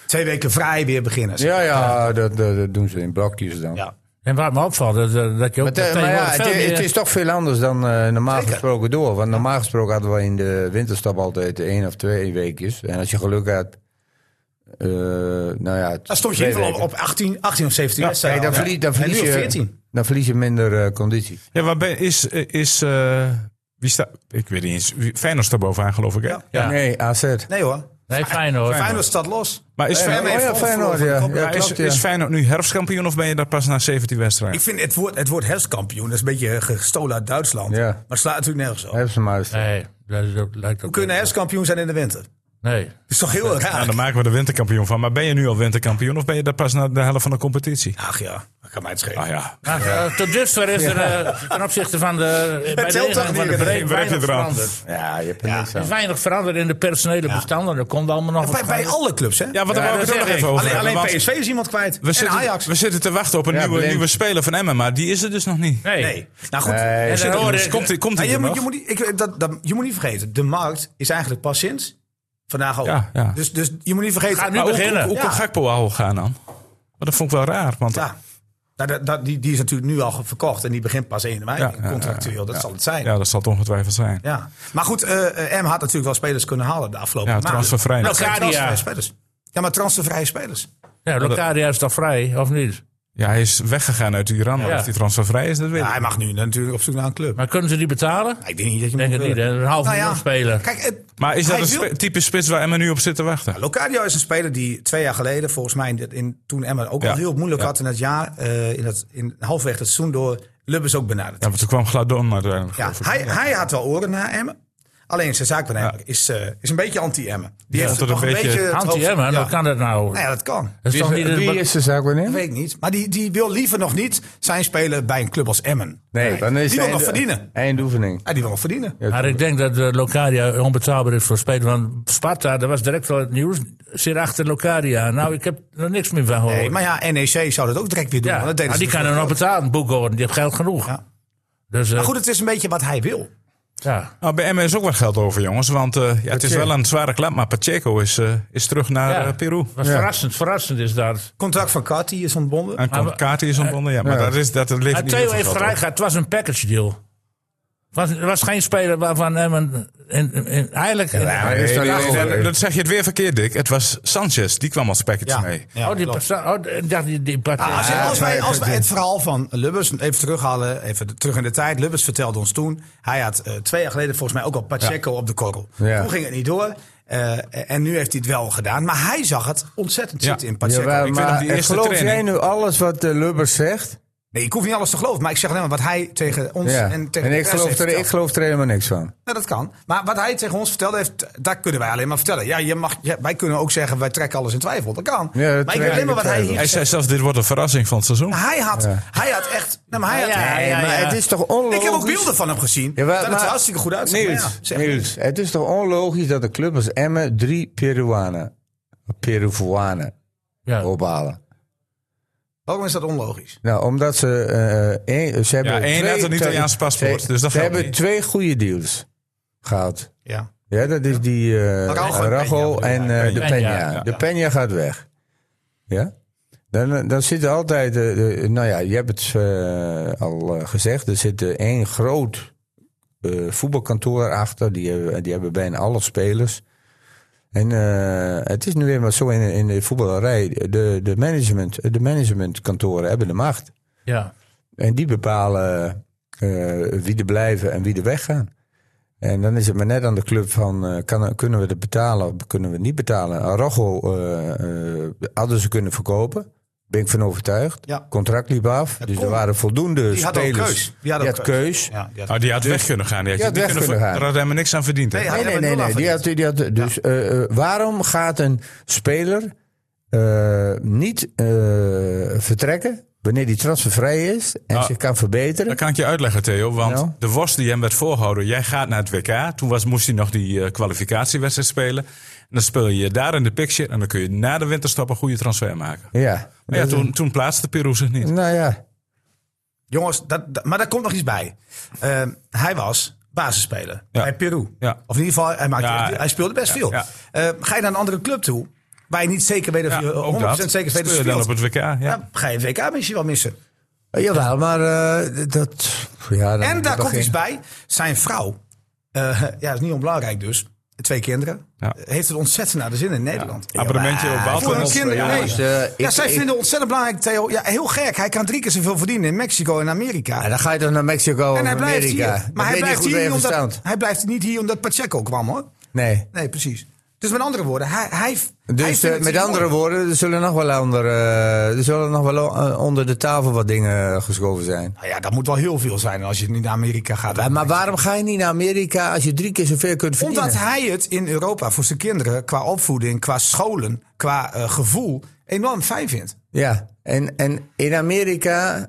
Twee weken vrij weer beginnen. Ja, ja, dat, dat, dat doen ze in blokjes dan. ja. En wat me opvalt, dat, dat dat je ook... Maar, te- dat maar ja, tegenwoordig het, veel het meer- is toch veel anders dan eh, normaal Zeker. gesproken door. Want normaal gesproken hadden we in de winterstap altijd één of twee weekjes. En als je geluk had, eh, nou ja... Dan stond je in twee ieder geval weken. op, op 18, 18 of 17 Nee, wedstrijden. dan, Ja. verlie- dan, verlies en nu op je, 14. dan verlies je minder eh, conditie. Ja, waarbij is... eh, is eh, wie staat... Ik weet niet eens. Wie- Feyenoord staat bovenaan, geloof ik, hè? Ja. Ja. Nee, AZ. Nee hoor. Nee, Feyenoord. Feyenoord staat los. Maar is Feyenoord Feyenoord, heeft oh ja, al verloren Feyenoord, van de ja. kop. Ja, Ja, is, klopt, ja. is Feyenoord nu herfstkampioen of ben je daar pas na 17 wedstrijden? Ik vind het woord, het woord herfstkampioen, dat is een beetje gestolen uit Duitsland. Ja. Maar het slaat natuurlijk nergens op. Hebben ze maar eens. Nee, dat, dat lijkt ook... We kunnen herfstkampioen zijn in de winter. Dat Nee. is toch heel raar? Nou, dan maken we er winterkampioen van. Maar ben je nu al winterkampioen of ben je daar pas na de helft van de competitie? Ach ja, dat kan mij het schelen. Ah ja. Maar, eh, tot dusver is er eh, ten opzichte van de... bij de telt toch ingang van de niet, break René? Waar heb je weinig het eraan? veranderd. Ja, je hebt er niks Er aan. is weinig veranderd in de personele bestanden. Dat komt allemaal nog wat Bij, bij gaan. alle clubs, hè? Ja, wat daar Ja, wou ik dat het ook nog zeg even ik. over Alleen, hebben, alleen want PSV is iemand kwijt. We en zitten, Ajax. we zitten te wachten op een Ja, nieuwe, Blind. nieuwe speler van Emmen, maar die is er dus nog niet. Nee. Nee. Nou goed. Nee. er En zit dan een- hoorde Dus komt hij komt Maar die eh, ah, je, er moet, je, nog? moet niet, ik, dat, dat, je moet niet vergeten, de markt is eigenlijk pas sinds vandaag ook. Ja, ja. Dus, dus je moet niet vergeten... Ga nu Maar Maar hoe- ook- beginnen. Hoe, hoe kan Ja. Gakpo al gaan dan? Maar dat vond ik wel raar, want ja, Ja. Nou, dat, dat, die, die is natuurlijk nu al ge- verkocht en die begint pas 1 mei. Ja, ja, ja, contractueel, dat ja. zal het zijn. Ja. dat zal het ongetwijfeld zijn. Maar goed, eh, eh, M had natuurlijk wel spelers kunnen halen de afgelopen Ja, maanden. transfervrij. Nou, zijn Locadia. transfervrije spelers. Ja, maar transfervrije spelers. Ja, Locadia is toch vrij, of niet? Ja, hij is weggegaan uit Iran, maar Ja. of hij transfervrij is, dat weet Ja, ik hij mag nu natuurlijk op zoek naar een club. Maar kunnen ze die betalen? Nou, ik denk niet dat Ik je denk moet het niet, hè. willen. Een half Nou miljoen speler. Kijk, het, Maar is dat Hij een wil- spe- type spits waar Emmen nu op zit te wachten? Locadio is een speler die twee jaar geleden, volgens mij, in, in- toen Emma ook Ja. al heel moeilijk Ja. had in dat jaar, eh, in, dat, in halfweg het seizoen door, Lubbers ook benaderd. Ja, want toen kwam Gladon eh, uiteindelijk. Ja, geloof ik. hij, hij had wel oren naar Emmen. Alleen zijn zaakbenemer is, eh, is een beetje anti-Emmen. Die heeft vond het toch een een beetje- beetje... het hoofd- Anti-Emmen, Ja. hoe kan dat nou? Nou ja, dat kan. Dat is toch niet... Wie, een- wie is de zaak Dat wanneer? weet ik niet. Maar die, die wil liever nog niet zijn spelen bij een club als Emmen. Nee, dan is Die wil nog eind- verdienen. Eindoefening. Ja, die wil nog verdienen. Maar ik denk dat eh, Locadia onbetaalbaar is voor spelers. Want Sparta, dat was direct wel het nieuws, zit achter Locadia. Nou, ik heb er niks meer van gehoord. Nee, maar ja, NEC zou dat ook direct weer doen. ja, want dat deden maar die ze kan er nog vroeger ook. betalen, boekhouden. Die heeft geld genoeg. Ja. Dus, eh, Maar goed, het is een beetje wat hij wil. ja. Nou, bij Emmen is ook wat geld over, jongens. Want eh, ja, het is Pacheco. wel een zware klap, maar Pacheco is, eh, is terug naar Ja. eh, Peru. Wat verrassend, verrassend is dat. Contract van Carty is ontbonden. En komt maar- Kati is ontbonden, ja. Maar dat, is, dat levert Maar niet heel Theo veel heeft geld gelijk op. gehad, het was een package deal. was, was geen speler waarvan Emmen in, in, in- eigenlijk... hij is daar Nee, achter. nee, dat zeg je het weer verkeerd, Dick. Het was Sanchez, die kwam als package Ja. mee. Ja, oh, die klopt. persoon... Oh, ik dacht die, die partij. Ah, als, je- als, wij, maar als het- wij het verhaal van Lubbers even terughalen, even de- terug in de tijd. Lubbers vertelde ons toen, hij had eh, twee jaar geleden volgens mij ook al Pacheco op de korrel. Ja. Toen ging het niet door eh, en nu heeft hij het wel gedaan. Maar hij zag het ontzettend Ja. zitten in Pacheco. Jawel, Ik vind maar eh, hem die eerste geloof training- jij nu alles wat eh, Lubbers zegt? Nee, ik hoef niet alles te geloven, maar ik zeg alleen maar wat hij tegen ons Ja. en En, tegen de ik, pers geloof heeft er, ik verteld. geloof er helemaal niks van. Nou, dat kan. Maar wat hij tegen ons vertelde, heeft, daar kunnen wij alleen maar vertellen. Ja, je mag, ja, wij kunnen ook zeggen, wij trekken alles in twijfel. Dat kan. Ja, dat maar ik weet alleen maar wat hij trekken in hier Hij zei zelfs, dit wordt een verrassing van het seizoen. Hij had, hij had echt... Nou, maar hij had, Ja, ja, maar het is toch onlogisch? Ik heb ook beelden van hem gezien. Jawel, dat het er hartstikke goed uitziet. Niels, maar ja, zeg- Niels, het is toch onlogisch dat een club als Emmen drie Peruanen, Peruvianen ja. ophalen? Waarom is dat onlogisch? Nou, omdat ze... eh één, ze hebben Ja, één twee, had een Italiaans twee- paspoort, ze- dus dat Ze geldt hebben niet. twee goede deals gehad. Ja. Ja, dat is die eh Araujo en Rago Peña bedoel en je, eh, de Peña. Peña. Ja, De Peña gaat weg. Ja? Dan, dan zit er altijd, eh, de- nou ja, je hebt het eh, al eh, gezegd, er zit eh, één groot eh, voetbalkantoor achter. Die hebben, die hebben bijna alle spelers. En eh, het is nu weer maar zo in, in de voetballerij, de, de, management, de managementkantoren hebben de macht. ja. En die bepalen eh, wie er blijven en wie er weggaan. En dan is het maar net aan de club van, eh, kan, kunnen we het betalen of kunnen we het niet betalen. Arrojo eh, eh, hadden ze kunnen verkopen, ben ik van overtuigd. Ja. Contract liep af, dus kon. er waren voldoende Die had ook spelers. keus. Die had ook had keus. Ja, die had- Nou, die had weg kunnen gaan. Die had, Die je had niet weg kunnen ver- gaan. Daar had helemaal niks aan verdiend. hè? Nee, hij- Nee, nee, Ja, maar nee. nul nee. Die had, afgediend. die had, dus eh, eh, waarom gaat een speler eh, niet eh, vertrekken wanneer die transfervrij is en Nou, zich kan verbeteren? Dat kan ik je uitleggen, Theo. Want Nou? de worst die hem werd voorgehouden, jij gaat naar het WK. Toen was, moest hij nog die eh, kwalificatiewedstrijd spelen. En dan speel je daar in de picture. En dan kun je na de winterstop een goede transfer maken. Ja. Maar ja, toen, toen plaatste Peru zich niet. Nou ja. Jongens, dat, dat- maar daar komt nog iets bij. Eh, hij was basisspeler Ja. bij Peru. Ja. Of in ieder geval, hij, maakte, Ja. hij speelde best veel. ja. Eh, ga je naar een andere club toe, waar je niet zeker weet of Ja, je eh, ook 100% dat. zeker weet of Speel je je dan speelt. op het WK. Ja. Ja, ga je WK misschien wel missen. Eh, Jawel, maar eh, dat... Ja, En daar komt iets bij. bij. Zijn vrouw, eh, ja, is niet onbelangrijk dus. Twee kinderen. Ja. eh, Heeft het ontzettend naar de zin in Nederland. Abonnementje op Voor hun Balkan. kinderen. nee. jongens, eh, ja, ik- zij ik- vinden het ontzettend belangrijk, Theo. Ja, heel gek. Hij kan drie keer zoveel verdienen in Mexico en Amerika. dan ga je toch naar Mexico of en hij blijft Amerika. hier. Dan Maar hij weet je blijft goed waar hier, je van omdat, staat. hij blijft niet hier omdat Pacheco kwam, hoor. Nee. Nee, precies. Dus met andere woorden, hij... hij hij vindt Dus eh, het met hier andere mooi. woorden, er zullen nog wel, andere, eh, er zullen nog wel eh, onder de tafel wat dingen eh, geschoven zijn. Nou ja, dat moet wel heel veel zijn als je niet naar Amerika gaat. Ja, maar waarom ga je niet naar Amerika als je drie keer zoveel kunt verdienen? Omdat hij het in Europa voor zijn kinderen, qua opvoeding, qua scholen, qua eh, gevoel, enorm fijn vindt. Ja, en, en in Amerika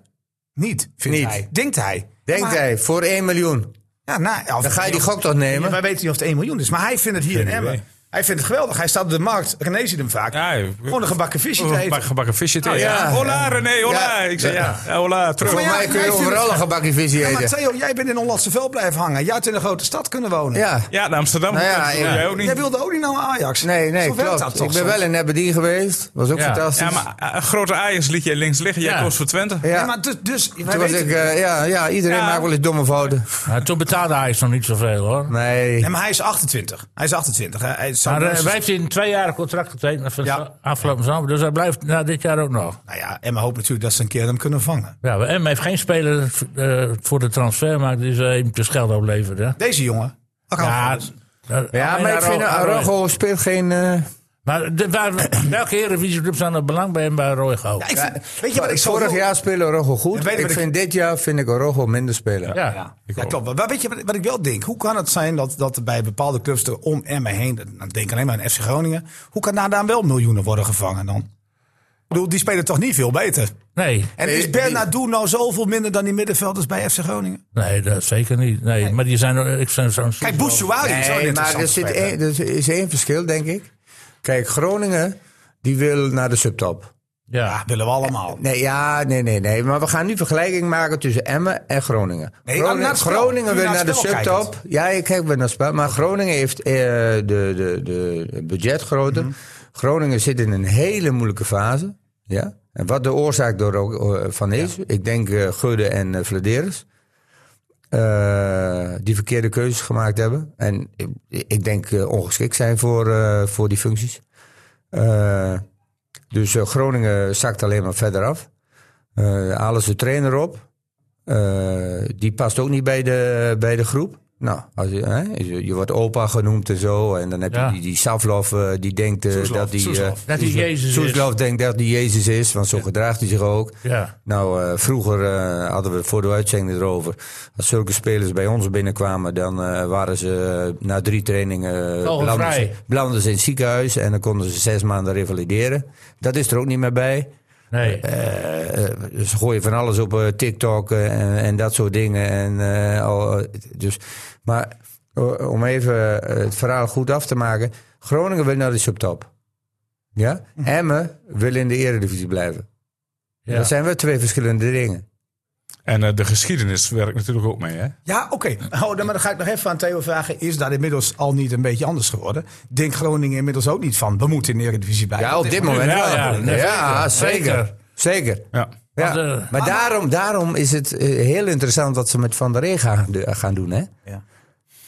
Niet, vindt Niet. hij. Denkt hij. denkt Maar- hij voor 1 miljoen. Ja, nou, of- Dan ga je die gok toch nemen? Ja, wij weten niet of het 1 miljoen is, maar hij vindt het hier in Geen idee. Emmen. Hij vindt het geweldig. Hij staat op de markt. René ziet hem vaak. Ja, joh. Gewoon een gebakken visje Oh, te eten. Gebak- Gebakken visje te eten. Nou ja. Ja, Hola, René, hola. Ja. Ik zei ja, ja, hola, Voor terug. ja, mij kun wij je vinden overal het- een gebakje visie Ja, maar eten. Theo, jij bent in Hollandse Veld blijven hangen. Jij had in een grote stad kunnen wonen. Ja, Ja, naar Amsterdam. Nou ja, Dat doe ja. Jij ook Jij niet. wilde ook niet naar Ajax. nee, nee, Zo werkt klopt. dat Ik toch ben soms? wel in Aberdeen geweest. Was ook Ja. fantastisch. Ja, maar eh, een grote Ajax liet jij links liggen. Jij Ja. koos voor Twente. Ja. Nee, maar dus, dus wij Toen was weten ik, het. eh, ja, ja, iedereen Ja. maakt wel eens domme fouten. Nou, toen betaalde hij nog niet zoveel, hoor. Nee. Nee, maar hij is 28. Hij is 28. hè. Hij zou Maar eh, minstens- wij heeft een twee jaar contract getekend van Ja. afgelopen zomer. Dus hij blijft na dit jaar ook nog. Nou ja, Emma hoopt natuurlijk dat ze een keer hem kunnen vangen. Ja, maar M heeft geen speler eh, voor de transfermarkt die ze eventjes geld oplevert. Hè? Deze jongen. Ja, eh, Ja, Ja, maar ik vind eh, Araujo speelt geen. eh, Maar de, waar, welke Eredivisie-club zijn er belang bij hem bij Roygo? ik vind- weet je wat ik zo vorig heel- jaar speelde Araujo Ja, goed. weet je ik wat ik- vind dit jaar vind ik Araujo minder spelen. Ja. Ja, Ik ja ook. klopt. Maar weet je wat, wat ik wel denk? Hoe kan het zijn dat, dat er bij bepaalde clubs er om Emmen heen, dan denk ik alleen maar aan FC Groningen, hoe kan daar dan wel miljoenen worden gevangen dan? Ik bedoel, die spelen toch niet veel beter? Nee, En Nee, is die- Bernardo nou zoveel minder dan die middenvelders bij FC Groningen? nee, dat zeker niet. Nee, maar die zijn... eh, Ik zijn zo'n Kijk, Bouchouari Oh, is ook Nee, een maar er, interessante zit speler. één- er is één verschil, denk ik. Kijk, Groningen die wil naar de subtop. Ja. Ja, Ah, willen we allemaal. Nee, ja, nee, nee, nee. Maar we gaan nu vergelijking maken tussen Emmen en Groningen. Nee, Groningen, naar het spel. Groningen Nu wil naar naar, het de spel kijkend. subtop. Ja, ik kijk wel naar het spel. Maar Groningen heeft eh, de, de, de budgetgrootte. Mhm. Groningen zit in een hele moeilijke fase. Ja? En wat de oorzaak door ook, eh, van is. Ik denk eh Gudde en eh, Vladeres. eh, die verkeerde keuzes gemaakt hebben. En ik, ik denk eh, ongeschikt zijn voor, eh, voor die functies. Eh, dus eh, Groningen zakt alleen maar verder af. Eh halen ze trainer op. Eh, die past ook niet bij de, bij de groep. Nou, als je, hè, je, je wordt opa genoemd en zo. En dan heb je Ja. die, die Savlov, eh, die denkt eh, Soeslof, dat die... eh Soeslof. Dat hij Jezus is. Soeslof denkt dat die Jezus is, want zo gedraagt hij zich ook. Ja. Nou, eh, vroeger eh, hadden we het voor de uitzending erover. Als zulke spelers bij ons binnenkwamen, dan eh, waren ze eh, na drie trainingen eh, Vogelvrij. belanden ze, belanden ze in het ziekenhuis en dan konden ze zes maanden revalideren. Dat is er ook niet meer bij. Nee. Eh, eh, ze gooien van alles op eh, TikTok eh, en, en dat soort dingen. En, eh, al, eh, dus, maar o- om even eh, het verhaal goed af te maken. Groningen wil naar de subtop. Ja? Emmen wil in de eredivisie blijven. Ja. Dat zijn wel twee verschillende dingen. En eh, de geschiedenis werkt natuurlijk ook mee, hè? Ja, oké. Oh, dan, maar dan ga ik nog even aan Theo vragen. Is daar inmiddels al niet een beetje anders geworden? Denkt Groningen inmiddels ook niet van, we moeten in de Eredivisie blijven? Ja, op dit moment Ja, wel. ja, Ja, nee, zeker. Zeker. Zeker. Ja. Ja. Want, eh, maar daarom, daarom is het eh, heel interessant wat ze met Van der Ree gaan, de- gaan doen. Hè? Ja.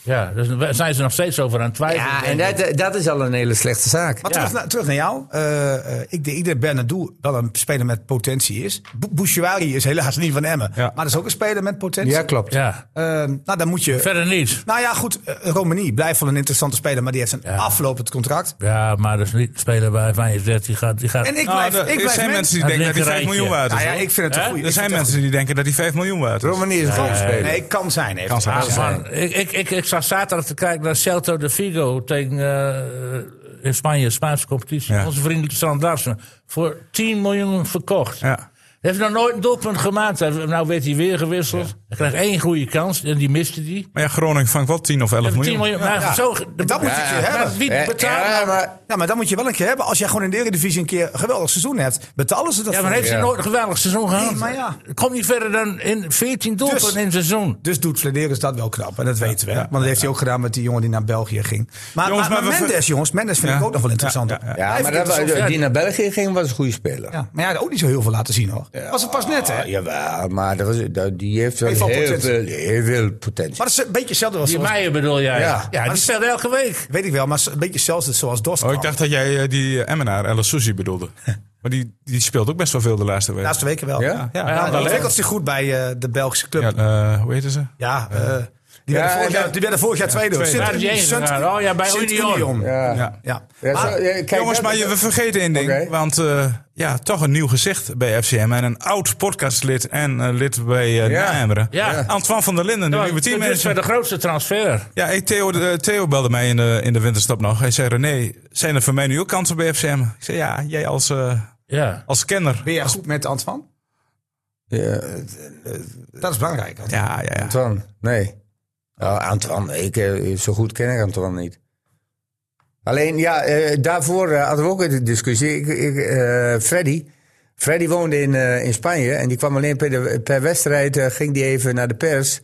ja, dus daar zijn ze nog steeds over aan het twijfelen. Ja, en denk ik. dat, dat is al een hele slechte zaak. Maar terug, naar, terug naar jou. Eh, eh, ik denk dat Bernadou wel een speler met potentie is. B Bouchouari is helaas niet van Emmen. Ja. Maar dat is ook een speler met potentie. Ja, klopt. ja. Eh, nou, dan moet je... verder niet. Nou ja, goed. eh, Romani blijft wel een interessante speler. Maar die heeft een Ja. aflopend contract. Ja, maar dat is niet speler bij 35. Die gaat, die gaat, En ik Nou, blijf... er- ik er blijf zijn mensen die Het denken dat die 5 linkerrijtje. miljoen waard is. Nou ja, hoor. ik vind het een Hè? goeie. er Ik zijn vind het mensen die denken dat die 5 miljoen waard is. Romani is een topspeler. een- Nee, kan zijn. Heeft Kan zijn. hij. Ah, man, ik, ik, ik, ik zat zaterdag te kijken naar Celta de Vigo tegen eh, in Spanje, Spaanse competitie. Ja. Onze vriendelijke Sandarsen. Voor 10 miljoen verkocht. Ja. Hij heeft nog nooit een doelpunt gemaakt. Hij- Nou werd hij weer gewisseld. Hij kreeg één goede kans en die miste die. Maar ja, Groningen vangt wel 10 of 11 Even 10 miljoen. miljoen. Maar ja. zo, Dat moet je een keer Maar hebben. Eh, Wie Ja, betaalt Eh, ja, nou? maar, Ja, maar dan moet je wel een keer hebben. Als jij gewoon in de Eredivisie een keer een geweldig seizoen hebt, betalen ze dat Ja, voor maar je. heeft hij nooit een geweldig seizoen gehad? maar ja. Komt niet verder dan in 14 doelpunten Dus- in het seizoen. Dus doet Flederis dat wel knap. En dat weten we. hè? ja, Want dat heeft hij ook gedaan met die jongen die naar België ging. Maar, Jongens, maar, maar maar we- Mendes, jongens. Mendes vind Ja. ik ook nog wel interessant. Ja, ja, ja. Hij ja, heeft maar dat, interessant- was- die naar België ging was een goede speler. ja, maar ja, ook niet zo heel veel laten zien, hoor. Was het pas net, hè? Ja, jawel, maar dat was, dat, die heeft wel Heeft wel heel, potentie. veel, heel veel potentie. Maar dat is een beetje hetzelfde als... Die zoals- Meijer bedoel jij? Ja. Ja, die speelt elke week. Weet ik wel, maar een beetje hetzelfde zoals Dost. Oh, ik kwam. dacht dat jij eh, die eh, Emmenaar, El Sousi bedoelde. maar die, die speelt ook best wel veel de laatste De week. laatste weken wel. Ja? Ja, Ja, Hij ja, wel, hè? ontwikkelt zich goed bij eh, de Belgische club. Ja, Ja, eh, hoe heette ze? eh, die, werden Ja, vorig en jaar, dat- die werden vorig jaar tweede. hoor. tweede. Sint- Waar die heen Sint- gegaan? Oh ja, bij Sint- Union. Ja. Ja. Ja. Ja, Maar- zo- ja, kijk, Jongens, dat- maar je, we vergeten één ding. Oké. Want eh, ja, toch een nieuw gezicht bij FCM. En een oud podcastlid en eh, lid bij eh Ja. Nijmegen. Ja. Antoine van der Linden, de Ja, nieuwe dit is teammanager. wel de grootste transfer. Ja, hey, Theo, eh, Theo belde mij in de, in de winterstap nog. Hij zei, René, zijn er voor mij nu ook kansen bij FCM? Ik zei, ja, jij als, eh, Ja. als kenner. Ben jij goed met Antoine? Ja, Dat is belangrijk. Antoine. Ja, ja, ja. Antoine, nee. Ja, Antoine, ik, eh, zo goed ken ik Antoine niet. Alleen, ja, eh, daarvoor eh, hadden we ook een discussie. Ik, ik, eh, Freddy, Freddy woonde in, eh, in Spanje en die kwam alleen per, de- per wedstrijd, eh, ging die even naar de pers.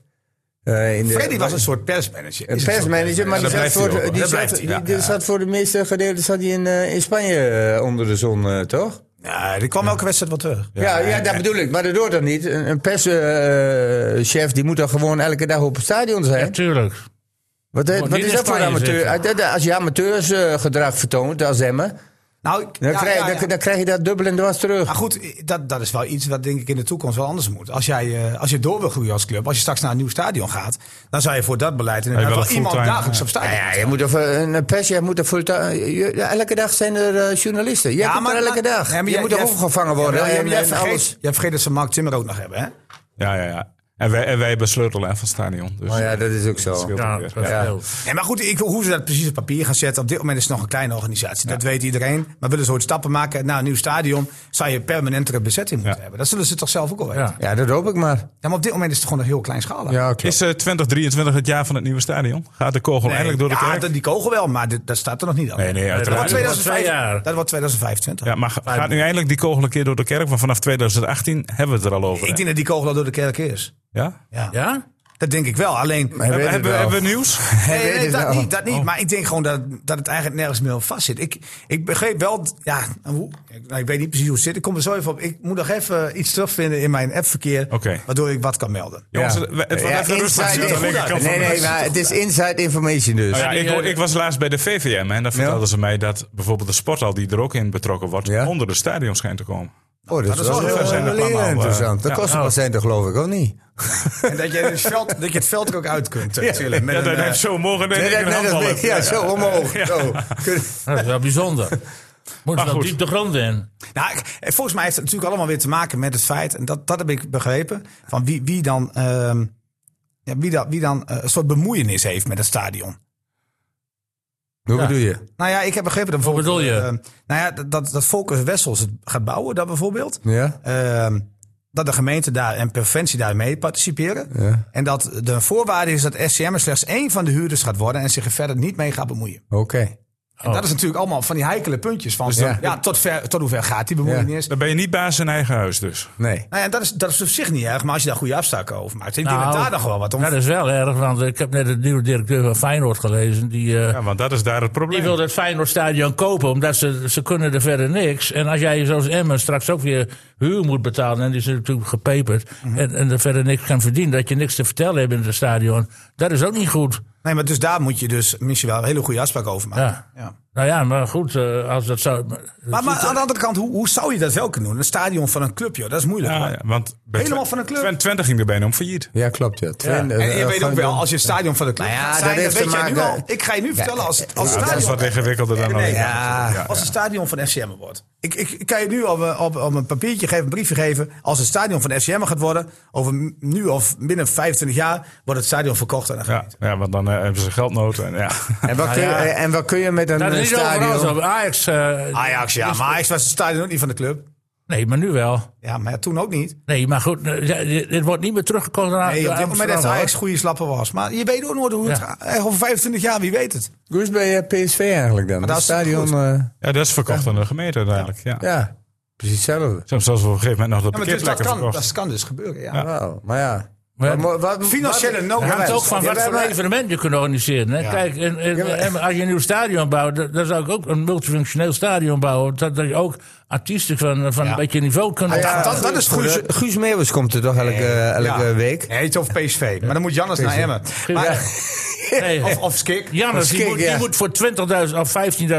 eh, in de- Freddy was een soort persmanager. Een Is een soort persmanager, maar Ja, dat die, zat blijft hij voor, ook wel. de- die, Dat zat, blijft hij, die, ja. die zat voor de meeste gedeelten zat hij in, eh, in Spanje eh, onder de zon, eh, toch? Ja, die kwam elke wedstrijd wel terug. Ja, ja, dat bedoel ik. Maar dat doet dat niet. Een, een perschef die moet dan gewoon elke dag op het stadion zijn. Natuurlijk. Wat, eh, Moet wat niet is in dat voor Spanje amateur? zitten. Ah, dat- dat- Als je amateursgedrag vertoont als Emmen, Nou, dan, ja, krijg, ja, ja. Ah, Dan, dan krijg je dat dubbel en dwars terug. Maar goed, dat, dat is wel iets wat denk ik in de toekomst wel anders moet. Als, jij, eh, als je door wil groeien als club, als je straks naar een nieuw stadion gaat, dan zou je voor dat beleid inderdaad wel wel, een iemand fulltime, dagelijks ja. op stadion. ja, je moet of, eh, een perschef moet er fulltime- je- Elke dag zijn er eh, journalisten. Jij komt er elke dag. Ja, maar je, jij- moet er jij- opgevangen worden. Ja, maar jij- en- jij, en vergeet, alles. jij vergeet dat ze Mark Timmer ook nog hebben, hè? Ja, ja, ja. En wij, en wij hebben sleutel hè, van het stadion. Dus Oh, Maar ja, dat is ook zo. scheelt Ja, ook weer. dat Ja. wel. Nee, maar goed, ik, hoe ze dat precies op papier gaan zetten, op dit moment is het nog een kleine organisatie. Dat weet iedereen. Maar willen ze ooit stappen maken naar een nieuw stadion, zou je permanentere bezetting moeten Ja. hebben. Dat zullen ze toch zelf ook al weten. Ja. Ja. Ja, dat hoop ik maar. maar op dit moment is het gewoon nog heel kleinschalig. Ja, klopt. Is eh, 2023 het jaar van het nieuwe stadion? Gaat de kogel eindelijk door de ja, kerk? dat- die kogel wel, maar dit- dat staat er nog niet aan. Nee, nee, Dat wordt uiteraard. twee- 2025. Twee jaar. Dat wordt 2025. Ja, maar ga- gaat nu eindelijk die kogel een keer door de kerk? Want vanaf 2018 hebben we het er al over. hè? Ik denk dat die kogel al door de kerk is. Ja? Ja. Ja? Dat denk ik wel. Alleen. Hij weet Hebben, het hebben, wel. hebben we nieuws? Nee, weet nee, het dat wel. niet, dat Oh. niet. Maar ik denk gewoon dat, dat het eigenlijk nergens meer vast zit. Ik, ik begreep wel, ja, hoe, ik, nou, ik weet niet precies hoe het zit. Ik kom er zo even op. Ik moet nog even iets terugvinden in mijn appverkeer, Oké. waardoor ik wat kan melden. Jongens, het het wordt Ja, even rustig. dus inside aan de info. linkerkant van Nee, de nee, mensen. maar het is inside information dus. Nou ja, die, ik, hoor- eh, ik was laatst bij de VVM en daar vertelden ze mij dat bijvoorbeeld de sporthal die er ook in betrokken wordt, Ja. onder de stadion schijnt te komen. Oh, Ah, dat is wel wel heel heel gezellig heel allemaal, interessant. Dat eh, kost ja. wel centen, geloof ik, ook niet? En dat je, het veld, dat je het veld er ook uit kunt, natuurlijk. Met ja, een, dat eh, heeft zo mogen. Nee, nee, een nee, dat handbal weet heb. ik. Ja, zo omhoog. Ja. Zo. Dat is wel bijzonder. Moet Maar wel goed. diep de grond in. Nou, ik- eh, volgens mij heeft het natuurlijk allemaal weer te maken met het feit, en dat, dat heb ik begrepen, van wie, wie dan, ehm, ja, wie dan, wie dan eh, een soort bemoeienis heeft met het stadion. Hoe bedoel je? Nou ja, ik heb begrepen dat bijvoorbeeld. bedoel je? eh, nou ja, dat- dat, dat Volkers Wessels het gaat bouwen, dat bijvoorbeeld. Ja? Ehm, dat de gemeente daar en provincie daar mee participeren. Ja. En dat de voorwaarde is dat SCM er slechts één van de huurders gaat worden en zich er verder niet mee gaat bemoeien. Oké. Oh. En dat is natuurlijk allemaal van die heikele puntjes. Van, Dus dan- ja. tot, ver, tot hoever gaat die bemoeienis? Dan ben je niet baas in eigen huis dus. Nee. Nou ja, dat is, dat is op zich niet erg, maar als je daar goede afspraken over maakt, ik denk Nou, dat daar nog wel wat om. dat is wel erg, want ik heb net de nieuwe directeur van Feyenoord gelezen. Die, eh, Ja, want dat is daar het probleem. die wil het Feyenoordstadion kopen, omdat ze, ze kunnen er verder niks. En als jij zoals Emmen straks ook weer huur moet betalen, en die is natuurlijk gepeperd, Mhm. en, en er verder niks kan verdienen, dat je niks te vertellen hebt in het stadion, dat is ook niet goed. Nee, maar dus daar moet je dus misschien wel een hele goede afspraak over maken. Ja. Nou ja, maar goed, eh, als dat zou... Maar, maar aan de andere kant, hoe, hoe zou je dat wel kunnen doen? Een stadion van een club, joh, dat is moeilijk. Ja, hoor. ja, want bij Helemaal Twen- van een club. Twen- Twente ging er bijna om failliet. Ja, klopt. Ja. Twin, eh, En je eh, weet ook van- wel, als je het stadion van de club Nou ja, gaat dat zijn, dan heeft te weet jij nu maken- al. Ik ga je nu vertellen, als, als Ja, dat is wat stadion... ingewikkelder dan Nee, alleen. ja, als het stadion van FCM wordt. Ik, ik, ik kan je nu al eh, op, op een papiertje geven, een briefje geven. Als het stadion van FCM gaat worden, over m- nu of binnen 25 jaar, wordt het stadion verkocht aan een Ja, ja, want dan eh, hebben ze geldnood. En, ja. En wat, kun je, eh, en wat kun je met een Nou, dat eh, is niet overal stadion... zo. Ajax... eh, Ajax, Ah, ja, maar Ajax was het stadion ook niet van de club. Nee, maar nu wel. Ja, maar ja, toen ook niet. Nee, maar goed, eh, ja, dit- dit wordt niet meer teruggekocht naar Nee, op dit moment Amsterdam, dat hoor. Ajax goede slappen was. Maar je weet ook nooit hoe het Ja. gaat. Eh, Over 25 jaar, wie weet het. Hoe is het bij eh, PSV eigenlijk dan? dat Het is stadion... goed. eh, ja, dat is verkocht aan de gemeente uiteindelijk. Ja. ja, precies hetzelfde. Soms zelfs op een gegeven moment nog de Ja, maar dus dat, parkeerplekken kan, verkocht. dat kan dus gebeuren, ja. Wauw, maar ja. We hebben- Maar wat- Financiële wat- nood. Het hangt Ja, ook van ja, wat wij- voor wij- evenement je kunt organiseren. Hè? Kijk, en, en- en als je een nieuw stadion bouwt, dan, dan zou ik ook een multifunctioneel stadion bouwen. Dat, dat je ook artiesten van, van een beetje niveau kunt Ja, ontvangen. dat, dat is Guus, goed. Guus Meeuwis komt er toch elke, elke Ja. week? Nee, het is over PSV. Maar dan moet Jannes naar Emmen. Maar, eh, Nee. of, of Skik. Ja, Ah, Jannes, die, Skik, moet, die ja. moet voor 20.000 of